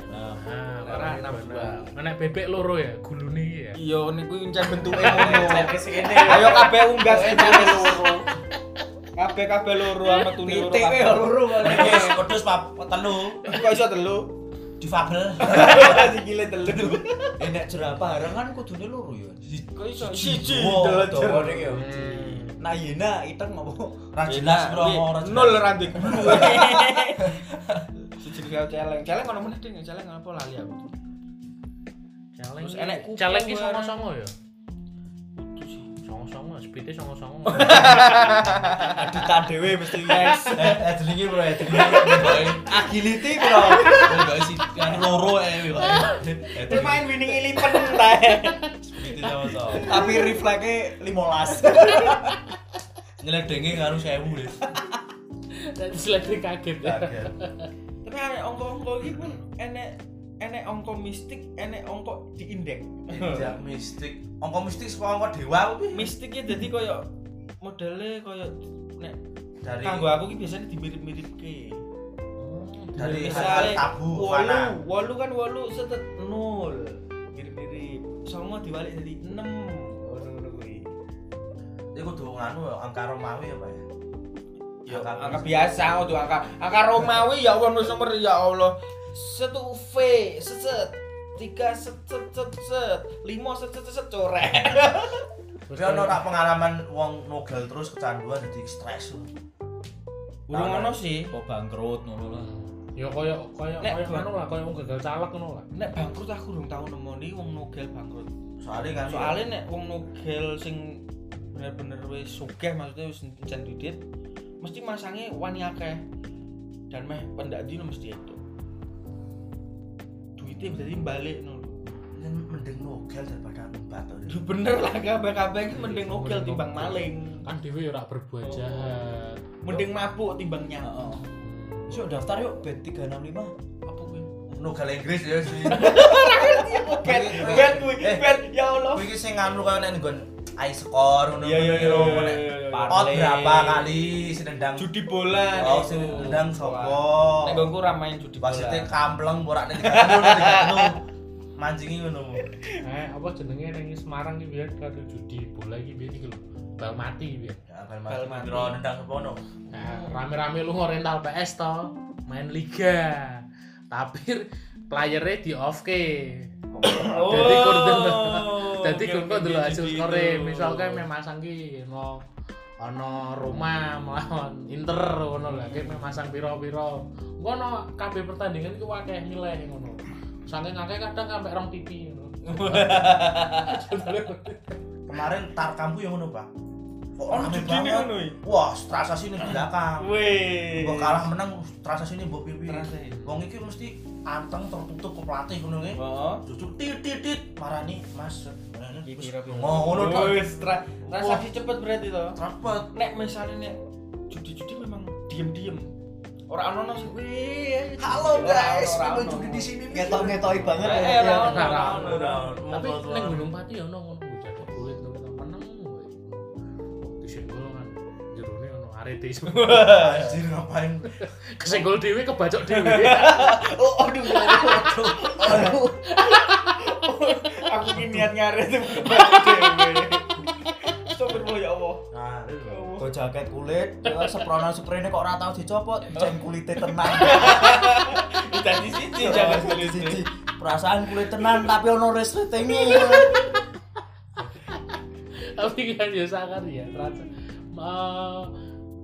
Speaker 4: Nah,
Speaker 2: Ora 62.
Speaker 4: Menek bebek loro ya, gulune iki ya.
Speaker 2: Iya niku incen [laughs] bentuke ngono.
Speaker 5: lepas ini.
Speaker 2: Ayo kabeh unggas kabeh loro. Kabeh kabeh loro sama tuni loro.
Speaker 5: Titik
Speaker 2: kabeh. Iya.
Speaker 5: ya loro kali.
Speaker 3: Wis kudus pap Iya, telu
Speaker 2: Kok iso [laughs] telu?
Speaker 3: difabel.
Speaker 2: Sikile telu.
Speaker 5: Enak jerapah harang kan kudune loro ya.
Speaker 2: Kok iso siji
Speaker 5: Wow,
Speaker 2: telu.
Speaker 5: dawane ya. Nah, yena iteng ngopo?
Speaker 3: Ra jelas bro ora jelas.
Speaker 2: Iya. nol randi guru siji kaya celeng celeng ono meneh ding celeng apa lali aku
Speaker 4: Caleng.
Speaker 2: Terus enek kupu,
Speaker 4: Caleng ki
Speaker 2: Wan.
Speaker 4: songo-songo ya. Songo-songo, spite
Speaker 2: [laughs]
Speaker 4: songo-songo.
Speaker 5: Adutan dhewe mesti yes.
Speaker 3: Eh, eh jenenge bro, eh jenenge.
Speaker 5: Agility bro.
Speaker 3: Enggak sih, kan loro eh.
Speaker 2: terus main winning eleven ta
Speaker 3: Gitu sama-sama.
Speaker 5: Tapi refleksnya 15.
Speaker 3: Ngeledenge karo 1000 wis.
Speaker 4: Dan seledri kaget ya.
Speaker 2: tapi enek angka-angka iki pun enek enek angka mistik enek angka diindek
Speaker 3: Jak mistik. Angka mistik sapa angka dewa kuwi?
Speaker 2: mistik ya dadi koyo modele koyo nek
Speaker 3: Dari
Speaker 2: kanggo aku ki biasanya dimirip-miripke
Speaker 3: dari
Speaker 2: Misalnya,
Speaker 3: tabu
Speaker 2: wolu
Speaker 3: mana?
Speaker 2: wolu kan wolu setet nol mirip-mirip songo dibalik jadi enam ngono-ngono kuwi
Speaker 3: Iku kudu nganu ya, angka Romawi apa ya?
Speaker 2: Ya, angka biasa untuk angka angka Romawi ya Allah nomor nomor ya Allah satu V seset tiga set set set set lima set set set, set coret
Speaker 3: Tapi
Speaker 2: ya
Speaker 3: ono tak pengalaman wong nogel terus kecanduan jadi stres. lho.
Speaker 2: burung ono sih
Speaker 5: Kok bangkrut ngono lah.
Speaker 4: Ya koyo koyo
Speaker 2: Nek-
Speaker 4: koyo anu lah, koyo gagal calak ngono lah.
Speaker 2: nek bangkrut aku belum tahu nemoni wong nogel bangkrut
Speaker 3: Soalnya kan
Speaker 2: soalnya nek wong nogel sing bener-bener wis sugih maksudnya wis njen duit mesti masangnya wani akeh dan meh pendak dino mesti itu duitnya berarti balik nol
Speaker 3: Ini mending nogel daripada ngobat to.
Speaker 2: Lu bener lah kabeh-kabeh ini mending nogel timbang maling
Speaker 4: Kan dhewe ora berbuat jahat.
Speaker 2: mending mabuk timbang nyawa
Speaker 5: Heeh. Yuk daftar yuk bed 365.
Speaker 2: apa
Speaker 3: [laughs]
Speaker 2: kuwi
Speaker 3: Nogel Inggris ya sih. Ya,
Speaker 2: bet bet kuwi
Speaker 3: Eh.
Speaker 2: bet ya Allah
Speaker 3: Kuwi iki sing nganu kaya nek nggon I score ngono. ngono, nek Out
Speaker 5: Parle.
Speaker 3: berapa kali si nendang?
Speaker 2: judi bola
Speaker 3: Oh, sing nendang sapa?
Speaker 2: nek gongku ra main judi bola
Speaker 3: Wasite kampleng borane tiga kilo, tiga kilo. Mancingi ngono.
Speaker 4: Eh, apa jenenge ning Semarang iki biyen karo judi bola iki biyen iki lho. Bal mati biyen.
Speaker 3: Ya bal
Speaker 2: Bal
Speaker 3: mati
Speaker 2: mati.
Speaker 3: piro nendang sepono.
Speaker 4: Nah, rame-rame lu ngorental PS to, main liga. Tapi playernya di off ke. Jadi
Speaker 2: Oh,
Speaker 4: kur dulu. Jadi kur kok dulu hasil skore. Misalnya memasang ki no ono Roma melawan Inter ngono lah. Ki memasang piro-piro. Ngono kabeh pertandingan iku akeh nilai ngono. Saking akeh kadang sampai rong pipi ngono.
Speaker 3: Kemarin tar kamu yang ngono, Pak. Kok
Speaker 2: Oh,
Speaker 3: rame
Speaker 2: judi ini
Speaker 3: banget.
Speaker 2: ngono iki.
Speaker 3: Wah, terasa sini di belakang.
Speaker 2: Weh.
Speaker 3: Mbok kalah menang terasa sini mbok pipi.
Speaker 2: Terasa ya.
Speaker 3: Wong iki mesti anteng tertutup ke pelatih ngono nge.
Speaker 2: Heeh.
Speaker 3: Cucuk tit tit tit marani Mas.
Speaker 2: Iki kira-kira.
Speaker 3: Oh, ngono tok.
Speaker 2: Wis tra- transaksi cepet berarti to.
Speaker 3: Cepet.
Speaker 2: Nek misalnya nek judi-judi memang diem-diem. Ora ono ono sing weh.
Speaker 3: Halo
Speaker 2: Ora
Speaker 3: guys,
Speaker 2: ono, ora
Speaker 3: memang
Speaker 2: ono.
Speaker 3: judi di sini. nih.
Speaker 5: Ngetok-ngetoi banget
Speaker 2: Eh,
Speaker 5: ya.
Speaker 2: ora ono,
Speaker 4: Ora
Speaker 2: ora
Speaker 4: ono.
Speaker 3: iya.
Speaker 2: ono.
Speaker 4: Tapi ning Gunung Pati ya ono ngono kuwi jatuh duit ngono kita meneng kuwi. Dhisik golongan jerone ono arete semua.
Speaker 3: Anjir ngapain?
Speaker 4: [laughs] Kesenggol dhewe kebacok dhewe.
Speaker 2: Oh, aduh. aduh, aduh. Aku ini niat nyari tuh. Astagfirullah ya Allah.
Speaker 3: Nah,
Speaker 2: Ya Allah.
Speaker 5: nggo jaket kulit, terus sepronan sprene kok ora tau dicopot, jen kulite tenang.
Speaker 2: Tadi siji jangan kulit.
Speaker 5: Siji, perasaan kulit tenang tapi ono resletinge.
Speaker 4: tapi kan ya sangar ya terasa Eh,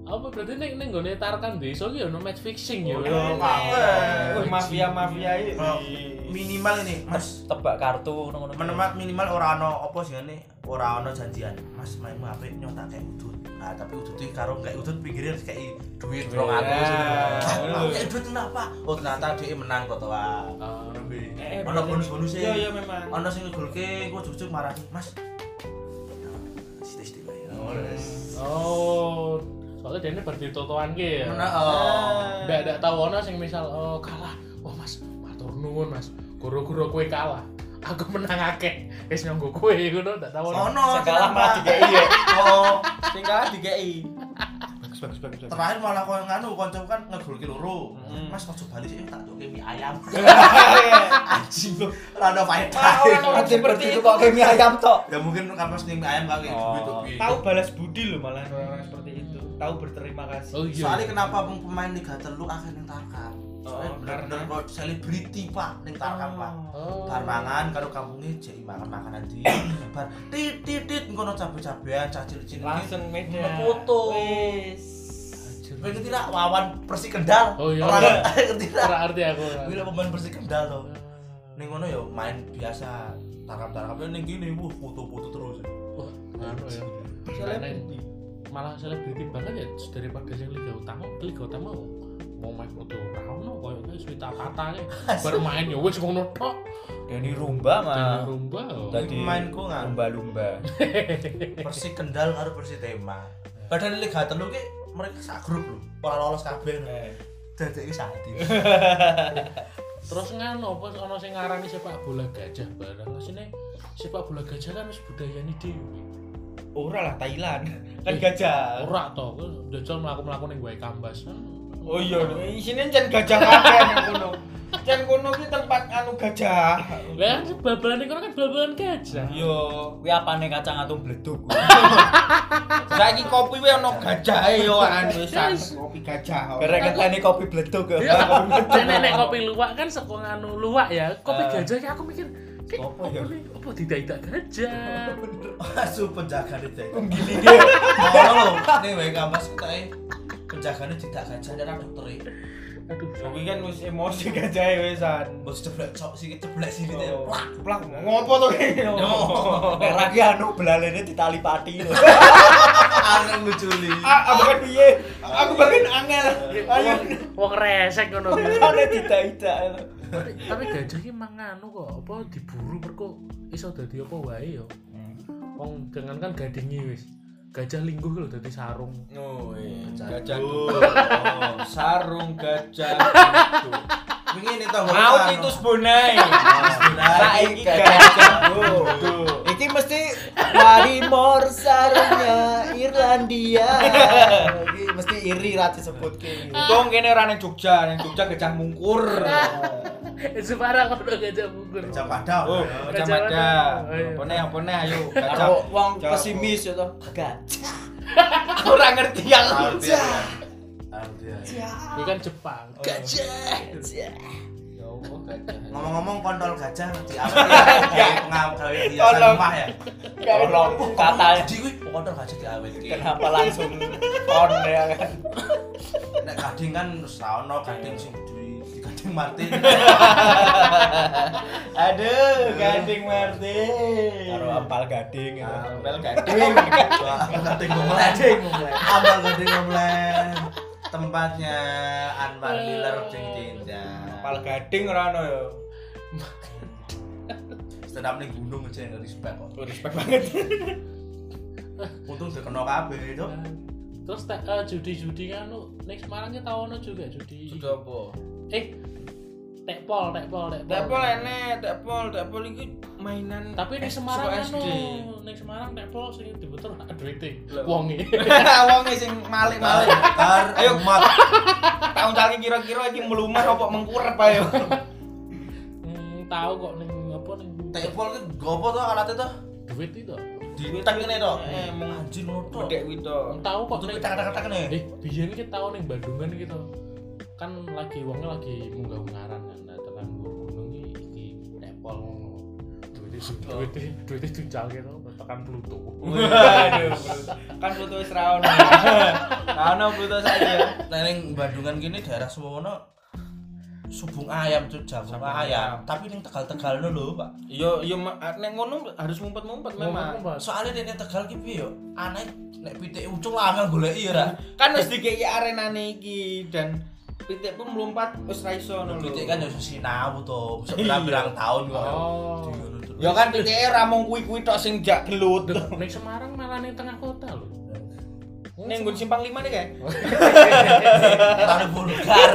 Speaker 4: apa berarti neng neng gue tarkan desa ki ya no match fixing
Speaker 2: Oh,
Speaker 4: ya
Speaker 1: Waduh,
Speaker 2: Wih, mafia-mafia
Speaker 3: Oh,
Speaker 2: iki.
Speaker 3: minimal ini mas
Speaker 5: Tebak kartu ngono-ngono.
Speaker 3: menemat minimal ora ono apa sih ini ora ono janjian mas main HP nyotak kayak udut nah tapi udut itu karo kayak udut pinggirnya harus kayak duit rong
Speaker 2: Iya. [laughs]
Speaker 3: atus
Speaker 2: bener.
Speaker 3: Ah, kayak duit kenapa oh ternyata dia menang kok toa
Speaker 4: Ah,
Speaker 2: Eh,
Speaker 3: ono bonus-bonusnya.
Speaker 2: Iya, iya memang.
Speaker 3: ono sing ngegolke gua cucuk marah mas sitik-sitik wae
Speaker 4: oh soalnya dia ini berarti totoan ki ya
Speaker 3: Mana, oh.
Speaker 4: ndak ndak tahu ono sing misal oh kalah oh mas matur nuwun mas guru-guru kue kalah aku menang akeh wis nyonggo kue ngono ndak tahu ono
Speaker 3: ono
Speaker 5: Sing kalah
Speaker 3: kenapa?
Speaker 5: malah dikei ya.
Speaker 3: oh
Speaker 2: Sing kalah dikei.
Speaker 1: Bagus bagus bagus. bagus.
Speaker 3: terakhir malah kau nganu konco kan ngegolke loro mas ojo bali sih tak jokke mie ayam
Speaker 2: Iya,
Speaker 3: anjing lo rada
Speaker 2: Orang
Speaker 3: faedah
Speaker 2: orang seperti
Speaker 5: Seperti itu
Speaker 2: itu
Speaker 5: kok kemi ayam tok.
Speaker 3: ya mungkin kan pas nih mie ayam kali
Speaker 5: Oh.
Speaker 3: duit duit
Speaker 2: tahu balas budi loh malah orang-orang seperti itu. Tahu berterima kasih.
Speaker 4: oh iya
Speaker 3: soalnya kenapa pem- pemain Liga Teluk akhirnya yang tarkam soalnya
Speaker 2: Oh,
Speaker 3: bener-bener
Speaker 2: karena-
Speaker 3: kok selebriti pak yang tarkam pak
Speaker 4: oh
Speaker 3: bar mangan karo kampungnya jadi makan makanan di bar tit tit tit ngono cabe cabean cacil cilik
Speaker 2: Langsung meja.
Speaker 3: Foto.
Speaker 2: Wis.
Speaker 4: Anjir.
Speaker 3: Kowe ngerti lah wawan Persi Kendal.
Speaker 4: Oh, iya.
Speaker 3: Orang [laughs] ngerti lah.
Speaker 4: ora arti aku ora.
Speaker 3: Kuwi lah pemain Persi Kendal to. Ning ngono ya main biasa. Tarkam-tarkam ning kene wuh foto-foto terus.
Speaker 4: Wah, anu ya.
Speaker 2: Soalnya
Speaker 4: Aneh.
Speaker 2: budi.
Speaker 4: malah selebriti banget ya daripada sing liga utama liga utama mau main foto rano kayaknya swita katanya bermain ya wes ngono tok
Speaker 5: Dani Ya,
Speaker 4: dan
Speaker 5: rumba mah.
Speaker 4: rumba
Speaker 5: Dadi
Speaker 3: Pemainku ngan
Speaker 5: lumba-lumba.
Speaker 3: Persi Kendal karo Persi Tema. Padahal Liga Telu ki mereka sak grup lho. Ora lolos kabeh.
Speaker 4: Eh.
Speaker 2: Eh,
Speaker 3: Dadeke sadi.
Speaker 4: terus ngano apa ono sing ngarani sepak bola gajah barang sini sepak bola gajah kan wis budayane dhewe
Speaker 2: Ora lah Thailand. Kan
Speaker 4: Eh,
Speaker 2: gajah.
Speaker 4: ora to jajal mlaku-mlaku ning wae kambas
Speaker 2: Oh iya, isine jan gajah kabeh nang kono. Jan kono ki tempat anu gajah. Iya.
Speaker 4: lah bal-balan iki kan bal-balan gajah
Speaker 2: Yo.
Speaker 5: Kuwi apane kacang atom bleduk.
Speaker 2: Saiki kopi we ono gajahe yo anu wis anu, kopi gajah.
Speaker 5: Karek ketane kopi bleduk. ya.
Speaker 4: Iya, nenek kopi luwak kan saka nganu luwak ya. Kopi
Speaker 5: Eh.
Speaker 4: gajah ki aku mikir, "Ki,
Speaker 5: Apa
Speaker 4: apa
Speaker 5: ya?"
Speaker 4: nih? Apa tidak-tidak gajah?
Speaker 3: [laughs] Asu penjagane dek. [laughs]
Speaker 5: Gili dia.
Speaker 3: Ngono lho. Ning wae kampus kae penjagane tidak gajah dan ada dokter. ya.
Speaker 4: Aduh,
Speaker 2: Kopi kan wis emosi gajahe wesan. Oh.
Speaker 3: Bos ceblek cok sik ceblek sik gitu ya. Plak.
Speaker 2: Plak ngopo to
Speaker 5: [laughs]
Speaker 2: ki?
Speaker 5: Nek ra ki anu belalene ditali pati lho.
Speaker 3: Areng nguculi.
Speaker 2: Ah, aku kan piye? Aku bagian angel. Ayo.
Speaker 4: wong resek ngono ki.
Speaker 5: Ora didak-idak. lho.
Speaker 4: Tapi gajah ki manganu kok apa diburu mergo iso dadi apa wae ya. Wong dengan kan gadingi wis. Gajah lingguh lho dadi sarung.
Speaker 2: Gajah duduk. sarung gajah. duduk.
Speaker 3: Wingi ning tanggo.
Speaker 2: Mau titus bonai. Saiki gajah duduk.
Speaker 5: Iki mesti Marimor sarungnya Irlandia. Iki mesti iri ra disebutke.
Speaker 2: Untung kene ora nang Jogja, nang Jogja gajah mungkur.
Speaker 4: Eh, Separa kono gajah mungkur.
Speaker 3: Gajah Padang.
Speaker 2: Oh, gajah mada. Pone pone ayo gajah.
Speaker 5: Oh, Karo wong
Speaker 2: Gajah.
Speaker 5: pesimis ya to. Gajah.
Speaker 2: Aku ora ngerti yang
Speaker 3: Artinya.
Speaker 2: gajah.
Speaker 3: Artinya.
Speaker 4: Iki kan Jepang.
Speaker 2: Ya Allah gajah.
Speaker 3: Ngomong-ngomong kontol gajah di apa ya? Ngam gawe hiasan
Speaker 2: Tolong.
Speaker 3: rumah ya.
Speaker 5: Tolong katanya
Speaker 3: Di kuwi kontol gajah diawetke.
Speaker 5: kenapa langsung on ya kan.
Speaker 3: Nek gading kan wis ra ono gading sing di di gading [laughs] mati.
Speaker 2: Aduh, gading Martin.
Speaker 5: Karo apal gading ya.
Speaker 2: Apel gading.
Speaker 3: Gading ngomleng. Ambal gading ngomleng. Tempatnya Anwar Miller Jeng
Speaker 2: Apel
Speaker 3: Tinja.
Speaker 2: gading ora ono ya.
Speaker 3: Stand up ning gunung aja yang respect kok.
Speaker 2: Oh, respect banget.
Speaker 3: Untung dikena kabeh itu.
Speaker 4: Terus te- eh, judi-judi kan lu nek Semarang ki tau ono juga judi.
Speaker 2: apa?
Speaker 4: Eh tekpol, tekpol, tekpol.
Speaker 2: Dapol enek, dapol, dapol iki mainan. [laughs]
Speaker 4: Tapi nek Semarang
Speaker 2: Eh, suka
Speaker 4: anu,
Speaker 2: SD.
Speaker 4: nek Semarang tekpol sing dibutuh duite
Speaker 2: Lho.
Speaker 4: wonge.
Speaker 2: Wonge sing malik-malik.
Speaker 3: Tar,
Speaker 2: Ayo.
Speaker 3: ayo mat.
Speaker 2: Tahun calki kira-kira iki melumah apa mengkurep [laughs] ayo.
Speaker 4: Hmm, tahu kok ning apa ning
Speaker 3: Tekpol ki gopo to alatnya to?
Speaker 4: duit itu. Hmm,
Speaker 3: Ditek ngene to.
Speaker 2: Eh, mung
Speaker 3: Anjir ngono to.
Speaker 2: bedek kuwi to.
Speaker 4: Tahu kok
Speaker 3: Untuk
Speaker 4: nek-
Speaker 3: ketak-ketak ngene.
Speaker 4: Eh, biyen kita tahu ning Bandungan iki to. Kan lagi wongnya lagi munggah ungaran kan. Nah, tekan gua gunung iki iki tempol ngono. Duite duite duite dunjalke to, tekan Pluto.
Speaker 2: Waduh, kan Pluto wis ra [laughs] ono. Ra ono Pluto saiki ya.
Speaker 3: Nah, ning Bandungan gini daerah Suwono subung ayam tuh jagung
Speaker 2: Sambung
Speaker 3: ayam.
Speaker 2: ayam.
Speaker 3: Tapi ning Tegal-Tegal lho, Pak.
Speaker 2: Yo yo ma- Ah, nek ngono harus ngumpet-ngumpet memang.
Speaker 4: Ngomong, Mas.
Speaker 3: Soalnya nek ning Tegal ki piye yo? Aneh nek pitik ucul lanang goleki ora.
Speaker 2: Kan wis dikeki arenane iki dan pitik pun melompat wis ra iso ngono. lho.
Speaker 3: Pitik kan yo sinau to, seberang-berang tahun kok.
Speaker 4: Oh.
Speaker 3: Diurut terus.
Speaker 2: Ya kan pitike ra mung kuwi-kuwi tok sing jak gelut.
Speaker 4: Ning Semarang malah ning tengah kota lho.
Speaker 2: Ning nggon simpang 5 nih [laughs] kae.
Speaker 3: Taruh bulgar.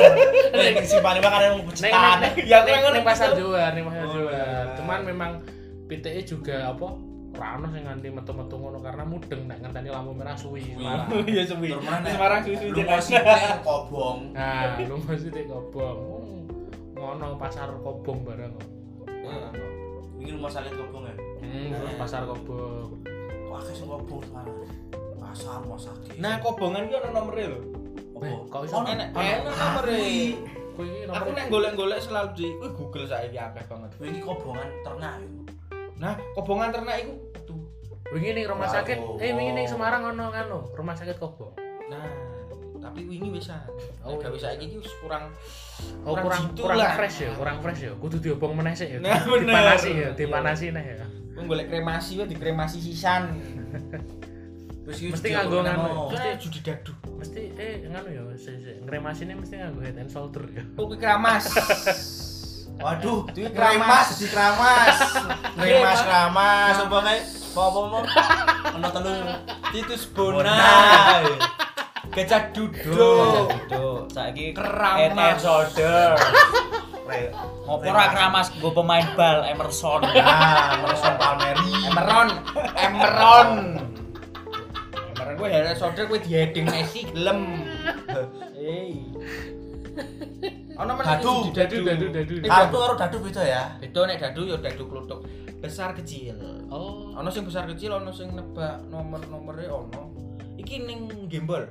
Speaker 3: Nek si paling makan yang
Speaker 4: Neng
Speaker 3: pecetan.
Speaker 4: neng
Speaker 2: Ya,
Speaker 4: ya
Speaker 2: aku Oh,
Speaker 4: neng
Speaker 2: yang ngerti
Speaker 4: neng pasar
Speaker 2: itu.
Speaker 4: Johar, neng pasar Johar.
Speaker 2: lah.
Speaker 4: Cuman memang PTE juga apa? Rano sing nganti metu-metu ngono karena mudeng nek ngenteni lampu merah suwi. parah.
Speaker 2: Ya suwi.
Speaker 3: Terus mana?
Speaker 2: Semarang suwi-suwi
Speaker 3: Lu
Speaker 2: tenan.
Speaker 3: mau siteng kobong.
Speaker 4: Nah, lu mesti tek kobong. Hmm, Ngono pasar kobong bareng.
Speaker 3: Ini rumah sakit kobong ya.
Speaker 4: Hmm,
Speaker 2: Eh.
Speaker 4: terus pasar kobong.
Speaker 3: Wah, kayak sing kobong sekarang. Pasar rumah sakit.
Speaker 2: Nah, kobongan ki ono nomere lho.
Speaker 3: Apa?
Speaker 4: kok iso?
Speaker 3: Ono-
Speaker 2: Enak
Speaker 3: ono-
Speaker 2: enak
Speaker 3: Ah,
Speaker 2: nomere.
Speaker 3: kuwi.
Speaker 4: Kowe iki
Speaker 2: Aku
Speaker 4: nomor
Speaker 2: nek golek-golek selalu di kuwi Google saiki akeh banget.
Speaker 3: Kuwi Ini kobongan ternak. ya.
Speaker 2: Nah, kobongan ternak iku tuh.
Speaker 4: wingi ning rumah sakit.
Speaker 3: Bravo.
Speaker 4: Eh, wingi ning Semarang ono ngono, rumah sakit kobong.
Speaker 2: Nah, tapi wingi wis ah.
Speaker 4: Oh,
Speaker 2: Gawe saiki iki wis kurang
Speaker 4: Oh,
Speaker 2: Kurang
Speaker 4: kurang
Speaker 2: jitu
Speaker 4: kurang
Speaker 2: lah.
Speaker 4: fresh ya, kurang fresh ya. Kudu diobong meneh sik ya.
Speaker 2: Nah, bener. Iya.
Speaker 4: Dipanasi ya, dipanasi neh ya.
Speaker 2: Wong golek kremasi wae dikremasi sisan.
Speaker 4: Hmm.
Speaker 3: Wis iki
Speaker 4: Mesti
Speaker 3: dia
Speaker 4: nganggo
Speaker 3: kobongan
Speaker 4: nganu.
Speaker 3: mau.
Speaker 4: Mesti-
Speaker 2: Kan judi dadu.
Speaker 4: Mesti eh ngono ya, sik sik. Ngremasine mesti nganggo head and shoulder ya.
Speaker 2: Oh, kuwi
Speaker 4: [laughs]
Speaker 2: kramas.
Speaker 3: Waduh,
Speaker 2: Duit
Speaker 3: kremas,
Speaker 2: keramas.
Speaker 3: di
Speaker 2: [laughs]
Speaker 3: kremas. Kremas, kremas. Apa kae? Apa apa mau? Ono telu.
Speaker 2: Titus
Speaker 3: Bonai.
Speaker 2: bonai. Gajah
Speaker 5: Duh,
Speaker 2: duduk.
Speaker 5: duh, saiki
Speaker 2: Keramas.
Speaker 5: head and shoulder.
Speaker 3: Re-
Speaker 5: Ngopo ra keramas gue pemain bal
Speaker 3: [laughs]
Speaker 5: Emerson.
Speaker 3: Ah, Merson Palmeri.
Speaker 2: Emeron, Emeron. Emeron gue head and shoulder gue diheding Messi gelem. Hei. Ono meneh
Speaker 3: Dadu,
Speaker 2: judi
Speaker 4: Dadu dadu dadu.
Speaker 2: Eh,
Speaker 3: Kartu karo dadu beda ya.
Speaker 2: Beda nek dadu ya dadu kluthuk. Besar kecil.
Speaker 4: Oh.
Speaker 2: ono sing besar kecil ono sing nebak nomor nomornya ono iki ning gembol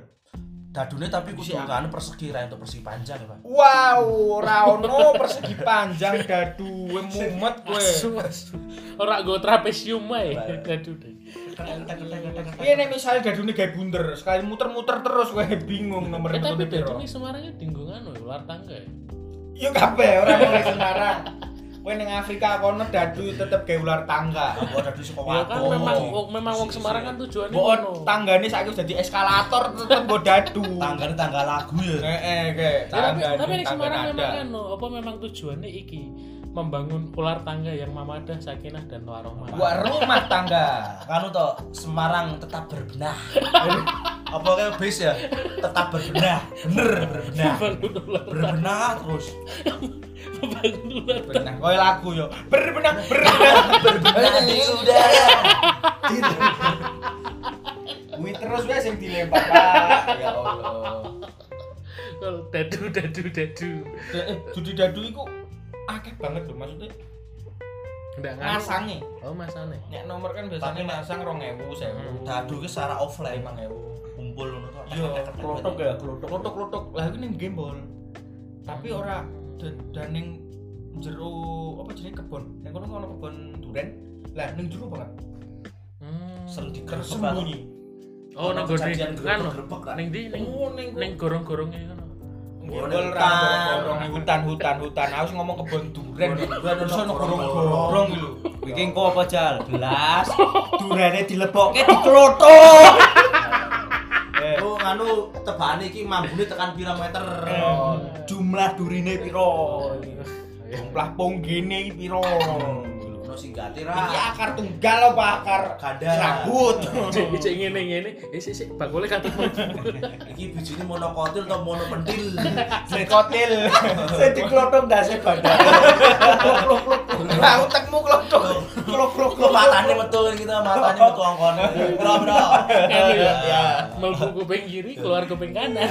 Speaker 3: Dadune tapi kudu
Speaker 2: Siap.
Speaker 3: kan persegi ra untuk persegi panjang ya, Pak.
Speaker 2: wow ora ono persegi panjang dadu we mumet kowe
Speaker 4: Asu asu. Ora go trapesium ae. Dadu deh.
Speaker 2: piye nek misale dadune gawe bunder sekali muter-muter terus kowe bingung nomor
Speaker 4: Eh tapi
Speaker 2: metode piro
Speaker 4: dadu ini Semarangnya tinggung anu ya, luar tangga ya.
Speaker 2: yo kabeh ora mulai Semarang kowe ning Afrika kono dadu tetep gawe ular tangga
Speaker 3: Gua dadu saka
Speaker 4: Ya kan
Speaker 3: Wago.
Speaker 4: memang memang wong Semarang kan tujuannya
Speaker 2: Mbok tanggane saiki wis dadi eskalator tetep nggo dadu
Speaker 3: Tanggane tangga lagu ya.
Speaker 2: heeh kowe
Speaker 4: Ya, tapi tapi nek
Speaker 2: tangga
Speaker 4: Semarang memang
Speaker 2: ada.
Speaker 4: anu, apa memang tujuannya iki membangun ular tangga yang mamadah, sakinah dan warohmah.
Speaker 2: Buat rumah tangga
Speaker 3: Kanu to Nah, kan Semarang tetap
Speaker 4: [laughs]
Speaker 3: berbenah. Apa kayak base ya? Tetap berbenah. Bener berbenah.
Speaker 4: Membangun ular
Speaker 3: Berbenah terus.
Speaker 4: membangun ular
Speaker 2: benang kowe lagu yo berbenang berbenang
Speaker 3: Berbenah di
Speaker 2: [laughs]
Speaker 3: udara.
Speaker 2: Kuwi terus wae sing dilempar, Pak. Ya Allah.
Speaker 4: tangga. Dadu dadu dadu.
Speaker 2: Eh, Judi dadu iku akeh banget lho maksudnya
Speaker 4: Ndak ngasang.
Speaker 2: ngasange.
Speaker 4: Oh masane.
Speaker 2: Nek nomor kan biasanya masang 2000, 1000,
Speaker 3: Dadu ki secara offline mang
Speaker 2: 5000.
Speaker 3: kumpul ngono to.
Speaker 2: Yo,
Speaker 5: Kelotok ya, kelotok.
Speaker 2: Klotok-klotok. Lah iku ning gembol. Tapi ora dan- dan ning jero apa jenenge kebon. Nek kono ono kebon duren. Lah ning jero banget.
Speaker 4: Hmm.
Speaker 3: Sering digerebek.
Speaker 2: Tersembunyi.
Speaker 4: Oh
Speaker 3: Ono
Speaker 4: ning gone
Speaker 3: kejadian
Speaker 4: kan.
Speaker 3: gerebek-gerebek, kan?
Speaker 4: Ning ndi ning
Speaker 2: Oh, ning-
Speaker 4: ning gorong-gorongnya kan.
Speaker 2: Gembol
Speaker 3: Hutan.
Speaker 2: ra gorong hutan hutan hutan. Aku ngomong kebon duren. Terus ono gorong-gorong iki lho.
Speaker 5: Iki engko apa jal?
Speaker 3: [laughs]
Speaker 5: Belas. Durane dilebokke diklotok.
Speaker 2: Eh,
Speaker 3: Lu nganu tebane iki mambune tekan pira meter.
Speaker 5: Jumlah durine piro?
Speaker 2: Jumlah ponggene iki piro?
Speaker 3: Ono sing gati
Speaker 2: Iki
Speaker 3: ra.
Speaker 2: akar tunggal apa akar
Speaker 3: Ganda. [laughs]
Speaker 2: serabut?
Speaker 4: Cek cek ngene ngene. Eh sik sik bakule katut mlebu.
Speaker 3: Iki bijine monokotil atau monopentil.
Speaker 2: Sekotil.
Speaker 5: [laughs] Sing diklotok ndase bandar.
Speaker 2: Lah utekmu klotok. Klok klok
Speaker 3: Kok matane metu gitu, matane metu angkone. Bro, bro.
Speaker 4: Anu ya. Mlebu kuping kiri, keluar kuping kanan.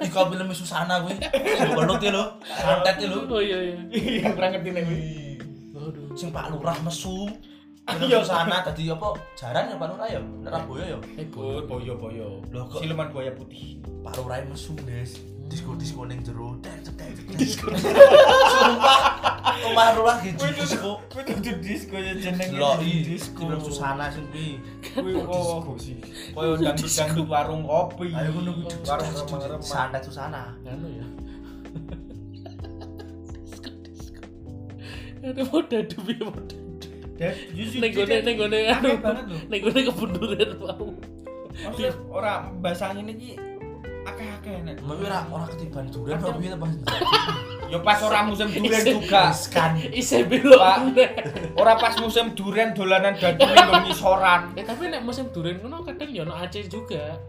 Speaker 3: Iko film Susana kuwi. Sing belut iki lho, santet iki lho.
Speaker 4: Oh iya iya.
Speaker 2: Iya, kurang ngerti nek kuwi.
Speaker 4: Aduh.
Speaker 3: Sing Pak Lurah mesu. Iya sana tadi apa jaran ya Pak Lurah ya? Nek Raboyo ya.
Speaker 4: Ibu.
Speaker 1: boyo boyo.
Speaker 3: Loh, kok-
Speaker 1: Siluman buaya putih.
Speaker 3: Pak Lurah mesu, Des. Disko-disko ning jero. Disko.
Speaker 1: Disko.
Speaker 3: Sumpah, omah Lurah gitu disko.
Speaker 1: Kuwi dudu disco ya jenenge.
Speaker 3: Delok iki disko susana sing kuwi.
Speaker 1: Kuwi disco sih. Koyo dangdut-dangdut warung kopi.
Speaker 3: Ayo ngono kuwi
Speaker 1: Warung
Speaker 3: disko.
Speaker 1: remang-remang.
Speaker 3: Santet susana.
Speaker 4: Anu ya. [laughs] Ada modal demi modal.
Speaker 1: Dan justru
Speaker 4: Ning gone ning gone anu.
Speaker 1: Aneh banget lho.
Speaker 4: Ning gone kemunduran mau.
Speaker 2: Maksudnya ora basah ngene iki akeh-akeh nek.
Speaker 3: Tapi ora ora ketiban durian
Speaker 2: Ada-
Speaker 3: apa piye Pak?
Speaker 2: Ya pas ora musim durian juga.
Speaker 3: Skan.
Speaker 4: Isih belok.
Speaker 2: Pak.
Speaker 4: meneh.
Speaker 2: Ora pas musim durian dolanan gadule yo ngisoran.
Speaker 4: Eh tapi nek musim durian ngono kadang ya ono Aceh juga.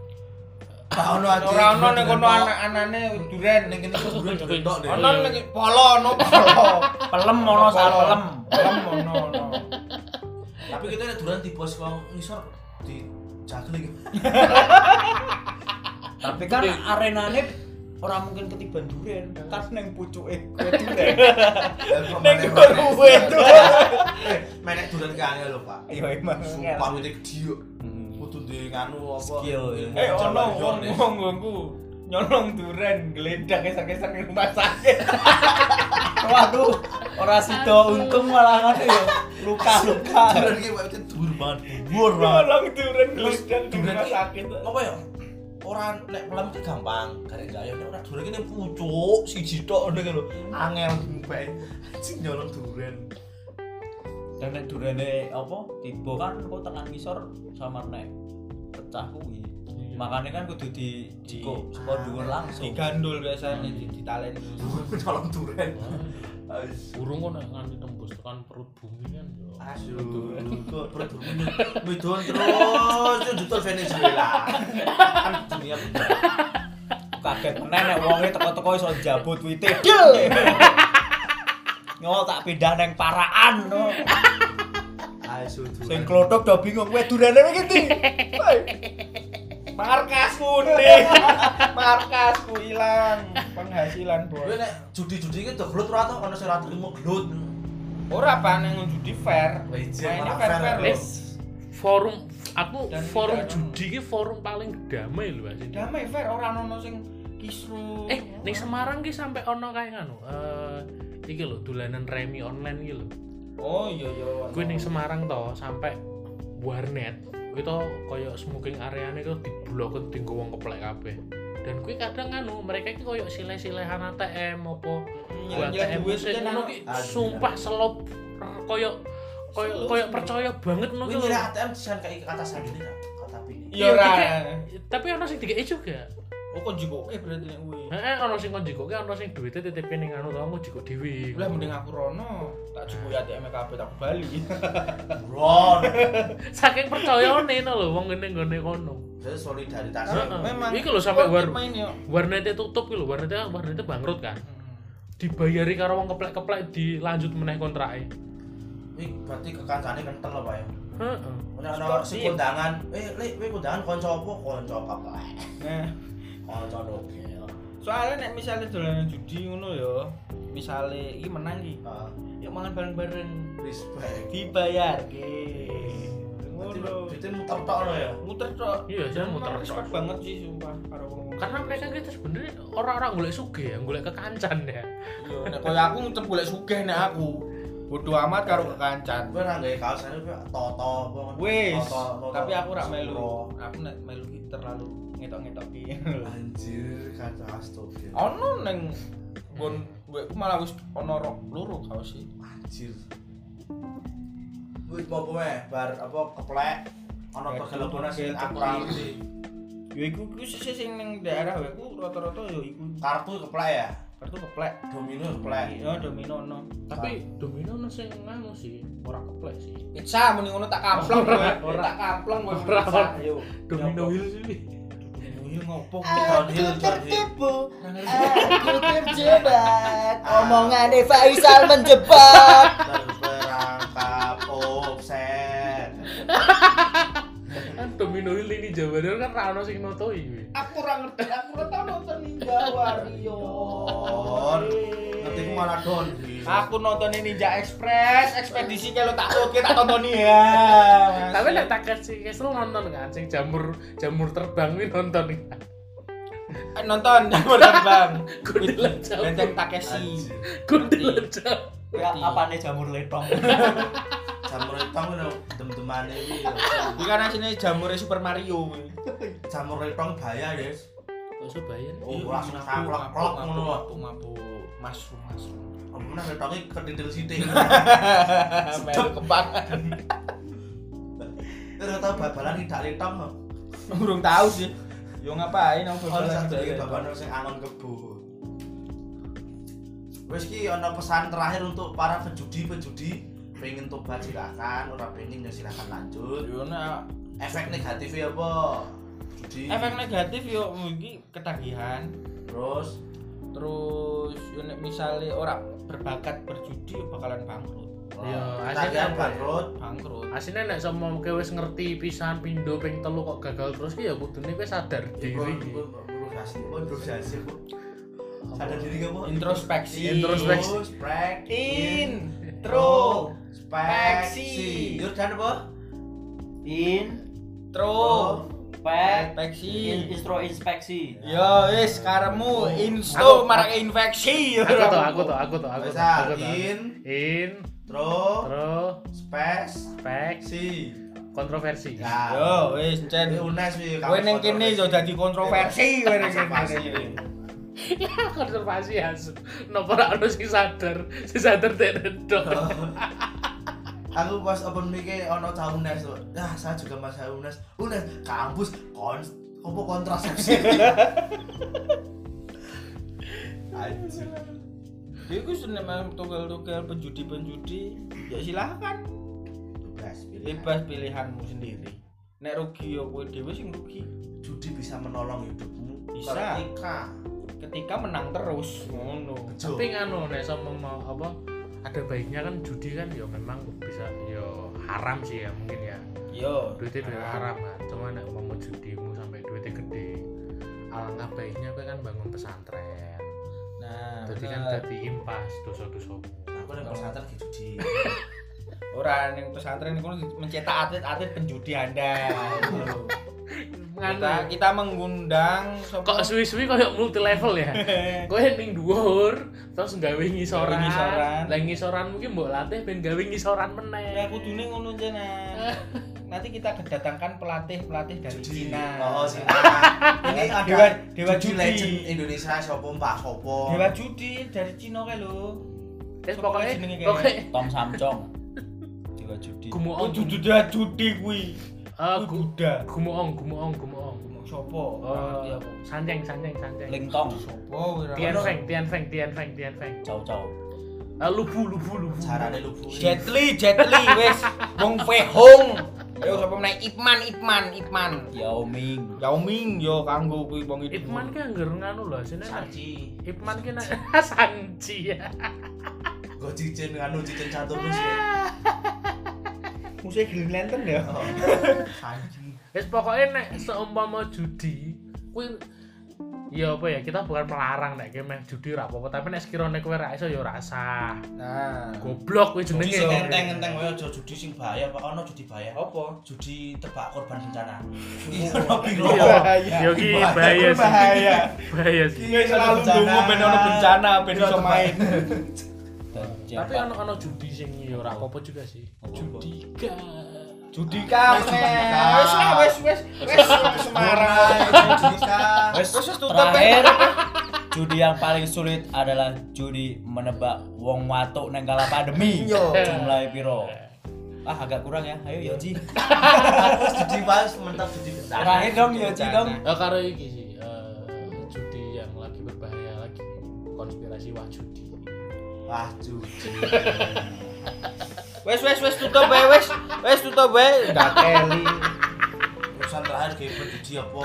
Speaker 3: Pak ono aja.
Speaker 2: Ora ono ning kono
Speaker 3: Tok.
Speaker 2: anak-anane durian
Speaker 3: ning kene
Speaker 4: [laughs]
Speaker 3: durian durian tok deh.
Speaker 2: Ono ning polo ono polo.
Speaker 5: Pelem ono sal
Speaker 2: Polo.
Speaker 5: pelem.
Speaker 2: Pelem ono ono.
Speaker 3: Tapi kita nek durian di pos wong ngisor di jagling.
Speaker 5: Tapi kan arenane ora mungkin ketiban duren, kan ning pucuke kue duren.
Speaker 3: Nek
Speaker 5: Kue
Speaker 3: [laughs]
Speaker 5: duren.
Speaker 3: Eh, menek durian ki angel lho, Pak.
Speaker 5: Ya emang.
Speaker 3: Sumpah ini gede yuk Kudu di nganu apa
Speaker 5: Skill, ya.
Speaker 3: ilmu
Speaker 2: Eh ono
Speaker 3: Jawa
Speaker 2: wong
Speaker 3: Yone.
Speaker 2: wong nggo nyolong durian geledak kesak-kesak ning rumah sakit.
Speaker 5: Waduh, ora sido untung malah ngene yo. Luka-luka.
Speaker 3: Durian ini waktu itu dur banget Dur banget
Speaker 2: Nyolong durian geledak di
Speaker 3: Durian
Speaker 2: rumah
Speaker 3: ini-
Speaker 2: sakit.
Speaker 3: Apa ya? Orang nek pelem itu gampang Karena gak ya, nek orang durian ini pucuk Siji tok udah gitu Angel baik Anjing nyolong durian
Speaker 5: Dan nek durene apa? Tiba kan kok tekan ngisor sama nek pecah kuwi. Makane kan kudu di dikuk saka dhuwur langsung.
Speaker 2: Digandul biasanya ditaleni.
Speaker 3: Nyolong durian
Speaker 4: Burung kok nek nganti tembus tekan perut bumi kan ya.
Speaker 3: Asu, kok perut bumi Midun terus, itu juta Venezuela Kan dunia
Speaker 5: Kaget meneh nek wonge teko-teko iso njabut wite. Del! Nyo tak pindah neng paraan no.
Speaker 3: Asu, durian
Speaker 5: Sing klothok do bingung, kowe durene iki ndi?
Speaker 2: Markas kuning. Markas ku ilang penghasilan
Speaker 3: Gue
Speaker 2: bos.
Speaker 3: nek judi-judi iki do glut ora to ono sing ra terima glut.
Speaker 2: Ora panen judi fair.
Speaker 3: Wajar
Speaker 2: Mainnya
Speaker 3: iya, malah
Speaker 2: fair fair
Speaker 3: fair,
Speaker 2: loh.
Speaker 4: Wis forum aku
Speaker 2: Dan
Speaker 4: forum
Speaker 2: tidak-
Speaker 4: judi ki forum paling damai lho Mas.
Speaker 2: Damai fair ora ono sing kisru.
Speaker 4: Eh, ning Semarang ki sampai ono kae ngono. Eh, iki lho dolanan remi online iki lho.
Speaker 2: Oh iya iya. ono.
Speaker 4: Gue ning Semarang to sampai warnet. Gue to koyo smoking areane ku diblokin tinggo wong keplek kabeh. Dan gue kadang anu mereka ki koyo sileh-silehan ATM opo buat
Speaker 2: Nyilet-nyilet
Speaker 4: ATM
Speaker 2: duit
Speaker 4: sih
Speaker 2: kan,
Speaker 4: ngono
Speaker 2: ono.
Speaker 4: ki
Speaker 3: Ah,
Speaker 4: sumpah selop koyo koyo koyo percaya banget ngono
Speaker 3: Gue
Speaker 4: ki lho.
Speaker 3: nyira ATM disan kayak kata sandi nih, kata pini.
Speaker 2: Iya ora.
Speaker 4: dikek- Tapi ono sing dikeki juga.
Speaker 2: Oh kok jiko eh berarti nek kuwi.
Speaker 4: Heeh, ana sing kon jikoke, ana sing duwite titipe ning anu to, jikok dhewe.
Speaker 2: Lah mending aku rono. Tak jiko ya ATM kabeh tak bali.
Speaker 3: Ron,
Speaker 4: Saking percayane no lho wong ngene nggone kono.
Speaker 3: jadi solidaritas.
Speaker 4: Heeh.
Speaker 2: Memang.
Speaker 4: Iki lho sampai
Speaker 2: Oh,
Speaker 4: war
Speaker 2: main yo.
Speaker 4: warnete tutup iki lho, warnete warnete bangkrut kan.
Speaker 2: Hmm.
Speaker 4: Dibayari karo wong keplek-keplek dilanjut meneh kontrake.
Speaker 3: Wih, berarti kekancane kental apa ya?
Speaker 4: Heeh.
Speaker 3: Ono ono si kondangan, eh le, wih kondangan konco apa? Konco apa?
Speaker 2: Nah,
Speaker 3: Konco nogel.
Speaker 2: soalnya nek misalnya dolanan judi ngono yo. Misalnya iki menang iki.
Speaker 3: Ah,
Speaker 2: Yuk mangan bareng-bareng.
Speaker 3: Respect.
Speaker 2: dibayar ke
Speaker 3: Berarti berarti muter tok lo ya.
Speaker 2: muter cok
Speaker 4: Iya, saya muter, Cok.
Speaker 2: respect banget sih sumpah karo wong
Speaker 4: Karena mereka gitu sebenarnya orang-orang golek sugih ya, golek kekancan ya.
Speaker 2: Iya, nek [laughs] koyo aku muter golek sugih nek aku bodoh amat karo kekancan
Speaker 3: Gue nang gawe kaos ini gue toto apa?
Speaker 2: wis
Speaker 3: Toto, toto.
Speaker 2: tapi aku ora melu
Speaker 3: Suro.
Speaker 2: aku nek melu ki terlalu ngetok-ngetok ki
Speaker 3: Anjir, kata astagfirullah.
Speaker 2: [laughs] ono neng nggon gue malah wis ono rok loro kaos sih
Speaker 3: Anjir. Wis mau kowe bar apa keplek ana
Speaker 2: Keplek,
Speaker 3: pegelebone sing
Speaker 2: keplek.
Speaker 3: aku ra ngerti.
Speaker 2: ya iku iku sih sih sing neng daerah wae ku rata-rata ya iku
Speaker 3: Kartu keplek ya,
Speaker 2: kartu keplek
Speaker 3: domino keplek.
Speaker 2: iya domino ono
Speaker 4: Tapi domino ono sing nganu sih, ora keplek sih.
Speaker 2: pizza mending ngono tak kamplong gue tak kamplong gue
Speaker 4: Ora,
Speaker 2: pizza.
Speaker 4: ora.
Speaker 2: Ayo.
Speaker 4: Domino wheel sih.
Speaker 2: Ini ngopong
Speaker 3: Downhill, downhill.
Speaker 5: Aku terjebak
Speaker 2: Ah.
Speaker 5: Omongannya Faisal menjebak
Speaker 2: Iya.
Speaker 3: Terperangkap offset.
Speaker 4: Kan domino wheel ini jawabannya kan ra ono sing notoi kuwi.
Speaker 2: Aku ora ngerti, Iya. aku ora tau nonton Ninja Wario.
Speaker 3: Don. Ngerti ku malah don di.
Speaker 2: Aku nonton Ninja Express, ekspedisi kalau tak oke tak tonton ya.
Speaker 4: Tapi nek tak kasih kesel nonton kan sing jamur jamur terbang kuwi nonton kan.
Speaker 2: Eh, nonton jamur terbang.
Speaker 4: Kundelan jamur.
Speaker 2: Benteng Takeshi.
Speaker 4: Kundelan jamur.
Speaker 5: Ya, apane jamur letong?
Speaker 3: Jamur retong lho dem-demane iki. ya. lho.
Speaker 2: Iki kan asline jamure Super Mario. kuwi.
Speaker 3: Jamur retong bahaya, Guys.
Speaker 4: Kok Surabaya nih?
Speaker 3: Oh, langsung saklek-klek ngono lho.
Speaker 2: Iya, Mabuk, mabuk, masuk, masuk.
Speaker 3: Omongna retonge ketitil sithik.
Speaker 2: Melu kepang.
Speaker 3: Ora tau babalan tidak letong lho.
Speaker 2: Urung tahu sih. Yo ngapain aku
Speaker 3: Ono
Speaker 2: bal-balan
Speaker 3: Oh, satu iki
Speaker 2: dari-
Speaker 3: babalan sing anon kebo. Wis ki ono pesan terakhir untuk para pejudi-pejudi pengen tobat silakan, ora pengen ya silakan lanjut.
Speaker 2: Yo nek
Speaker 3: Efek negatifnya apa? Judi.
Speaker 2: efek negatif yo mungkin ketagihan.
Speaker 3: Terus
Speaker 2: Terus yo nek misale ora berbakat berjudi yo bakalan bangkrut.
Speaker 4: Iya,
Speaker 3: akhirnya
Speaker 4: akhirnya
Speaker 3: bangkrut.
Speaker 2: Bangkrut.
Speaker 4: Asine nek sama kowe wis ngerti pisan pindho ping telu kok gagal terus ki ya kudune kowe sadar
Speaker 3: Iku
Speaker 4: diri.
Speaker 3: iku progresi, iku progresi. oh, Bu. Sadar diri kamu.
Speaker 2: Introspeksi.
Speaker 4: Introspeksi.
Speaker 3: Introspeksi.
Speaker 2: In. Tro.
Speaker 3: Introspeksi. Yur dan apa?
Speaker 5: In Oh.
Speaker 2: Tro.
Speaker 5: pek
Speaker 2: Introspeksi.
Speaker 5: in- intro inspeksi.
Speaker 2: Yo wis karemu insto
Speaker 4: Aku-
Speaker 2: marak infeksi.
Speaker 4: Aku tuh, aku tuh, aku tuh, aku tuh,
Speaker 3: Bisa
Speaker 4: aku tuh.
Speaker 3: in
Speaker 4: In,
Speaker 3: tro
Speaker 4: terus
Speaker 3: spes
Speaker 4: peks,
Speaker 3: si.
Speaker 4: kontroversi. [laughs]
Speaker 3: Ya.
Speaker 2: Yo wis
Speaker 3: Ini
Speaker 2: cen.
Speaker 3: unes wih, kamu
Speaker 2: Kowe ning kene
Speaker 3: kontroversi.
Speaker 2: yo dadi kontroversi kowe ning kene.
Speaker 4: Ya, konservasi asu. Nopo ora ono sing sadar, sing sadar tek redor.
Speaker 3: Oh, Aku pas open mic e ono cah unes tuh. Nah, saya juga mas saya unes. Unes kampus kon apa kontrasepsi. Anjir.
Speaker 2: Ya iku seneng tunggal-tunggal penjudi-penjudi. Ya silakan
Speaker 3: Bebas, pilihan.
Speaker 2: bebas pilihanmu sendiri. Nek rugi yo kowe dhewe sing rugi.
Speaker 3: Judi bisa menolong hidupmu.
Speaker 2: Bisa.
Speaker 3: Ketika
Speaker 2: Ketika menang terus ngono.
Speaker 3: bejo.
Speaker 4: Tapi nganu nek sama mau apa ada baiknya kan judi kan ya memang bisa ya haram sih ya mungkin ya.
Speaker 2: Yo.
Speaker 4: duitnya duit haram kan cuma nek mau judimu sampai duitnya gede alangkah baiknya kowe kan bangun pesantren
Speaker 2: Nah,
Speaker 4: jadi kan
Speaker 2: bener.
Speaker 4: dadi impas dosa-dosamu
Speaker 3: Aku ning pesantren gitu di.
Speaker 2: Orang yang pesantren itu mencetak atlet-atlet penjudi
Speaker 4: [laughs]
Speaker 2: Anda. kita,
Speaker 4: nganu
Speaker 2: kita mengundang sopo- [laughs]
Speaker 4: kok suwi-suwi koyo multi level ya kowe ning dhuwur terus gawe ngisoran
Speaker 2: Gawe ngisoran.
Speaker 4: lah ngisoran mungkin mbok latih ben gawe ngisoran
Speaker 2: Ya
Speaker 4: meneh
Speaker 2: kudune ngono jenengan. Nanti kita kedatangkan pelatih-pelatih dari
Speaker 3: Judi.
Speaker 2: Cina.
Speaker 3: Oh, sing Cina. Ini ada
Speaker 2: Dewa Dewa
Speaker 3: Dewa
Speaker 2: Judi.
Speaker 3: Legend Indonesia sapa Mbak sapa.
Speaker 2: Dewa judi dari Cina kae lho.
Speaker 4: terus pokoknya
Speaker 2: jenenge kayak-
Speaker 4: pokoknya
Speaker 5: Tom Samcong. Dewa judi.
Speaker 2: Oh,
Speaker 4: gumuong
Speaker 2: judi Dewa judi kuwi.
Speaker 4: eh,
Speaker 2: Kuwi
Speaker 4: gu-
Speaker 2: Buddha.
Speaker 4: gumuong gumuong gumuong
Speaker 2: Sopo?
Speaker 4: Oh,
Speaker 2: Ngerti aku.
Speaker 4: sanjeng sanjeng sanjeng
Speaker 5: Lingtong.
Speaker 2: Sopo ora.
Speaker 4: tianfeng tianfeng tianfeng tianfeng
Speaker 5: Cao cao.
Speaker 4: Eh, lubu lubu lubu
Speaker 3: Carane lubu.
Speaker 2: Jet Li, Jet Li wis Wong Fei Hong. Yo sapa meneh Ipman, Ipman, Ipman.
Speaker 5: Yao Ming.
Speaker 2: Yao Ming yo kanggo kuwi wong itu.
Speaker 4: Ipman ki anggar nganu lho sini
Speaker 3: Sanci.
Speaker 4: Ipman ki nek [laughs] sanji ya.
Speaker 3: Go cicin nganu cicin catur terus. ya.
Speaker 2: Musuhe Green Lantern ya.
Speaker 3: Oh. Sanci.
Speaker 4: Wis pokoke nek seumpama judi kuwi ya apa ya kita bukan melarang nek kowe meh judi ora apa-apa tapi nek sekirane kowe ora iso ya ora sah.
Speaker 2: Nah.
Speaker 4: Goblok kuwi jenenge.
Speaker 3: Judi sing enteng-enteng wae aja judi sing bahaya, Pak. Ono judi bahaya.
Speaker 2: Apa?
Speaker 3: Judi tebak korban bencana. Iya, [laughs] ono piro.
Speaker 4: Iya. Ya ki bahaya sih.
Speaker 2: Bahaya.
Speaker 4: Bahaya sih.
Speaker 2: Iya selalu ndonga ben ono bencana ben iso main.
Speaker 4: Tapi anu, ono-ono judi sing ya ora Iya. apa-apa juga sih. Judi ga.
Speaker 2: Judi kae. Wis lah, wis wis wis Semarang.
Speaker 3: Judi kan.
Speaker 5: Wes,
Speaker 2: Wes, wes, tutup,
Speaker 5: terakhir judi yang paling sulit adalah judi menebak wong watuk neng kala pandemi.
Speaker 2: Yo.
Speaker 5: Jumlahe piro? Ah agak kurang ya. Ayo Yoji.
Speaker 3: Terus judi pas mentok judi
Speaker 2: Nah,
Speaker 3: bencana.
Speaker 5: Terakhir dong Yoji dong.
Speaker 4: Ya karo iki sih eh, judi yang lagi berbahaya lagi konspirasi wah judi.
Speaker 3: Wah, judi.
Speaker 2: Wes wes wes tutup bae wes. Wes tutup bae. Dakeli.
Speaker 3: Urusan terakhir kayak judi apa?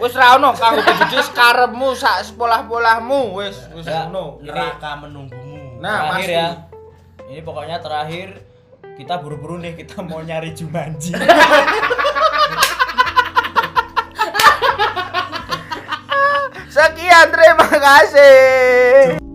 Speaker 2: Wes ra ono kanggo judi sekarepmu sak sepolah-polahmu wes wis
Speaker 5: Ya,
Speaker 2: ngono.
Speaker 3: Neraka menunggumu.
Speaker 2: Nah,
Speaker 5: terakhir
Speaker 2: pasti.
Speaker 5: ya. Ini pokoknya terakhir kita buru-buru nih kita mau nyari Jumanji.
Speaker 2: Sekian terima kasih.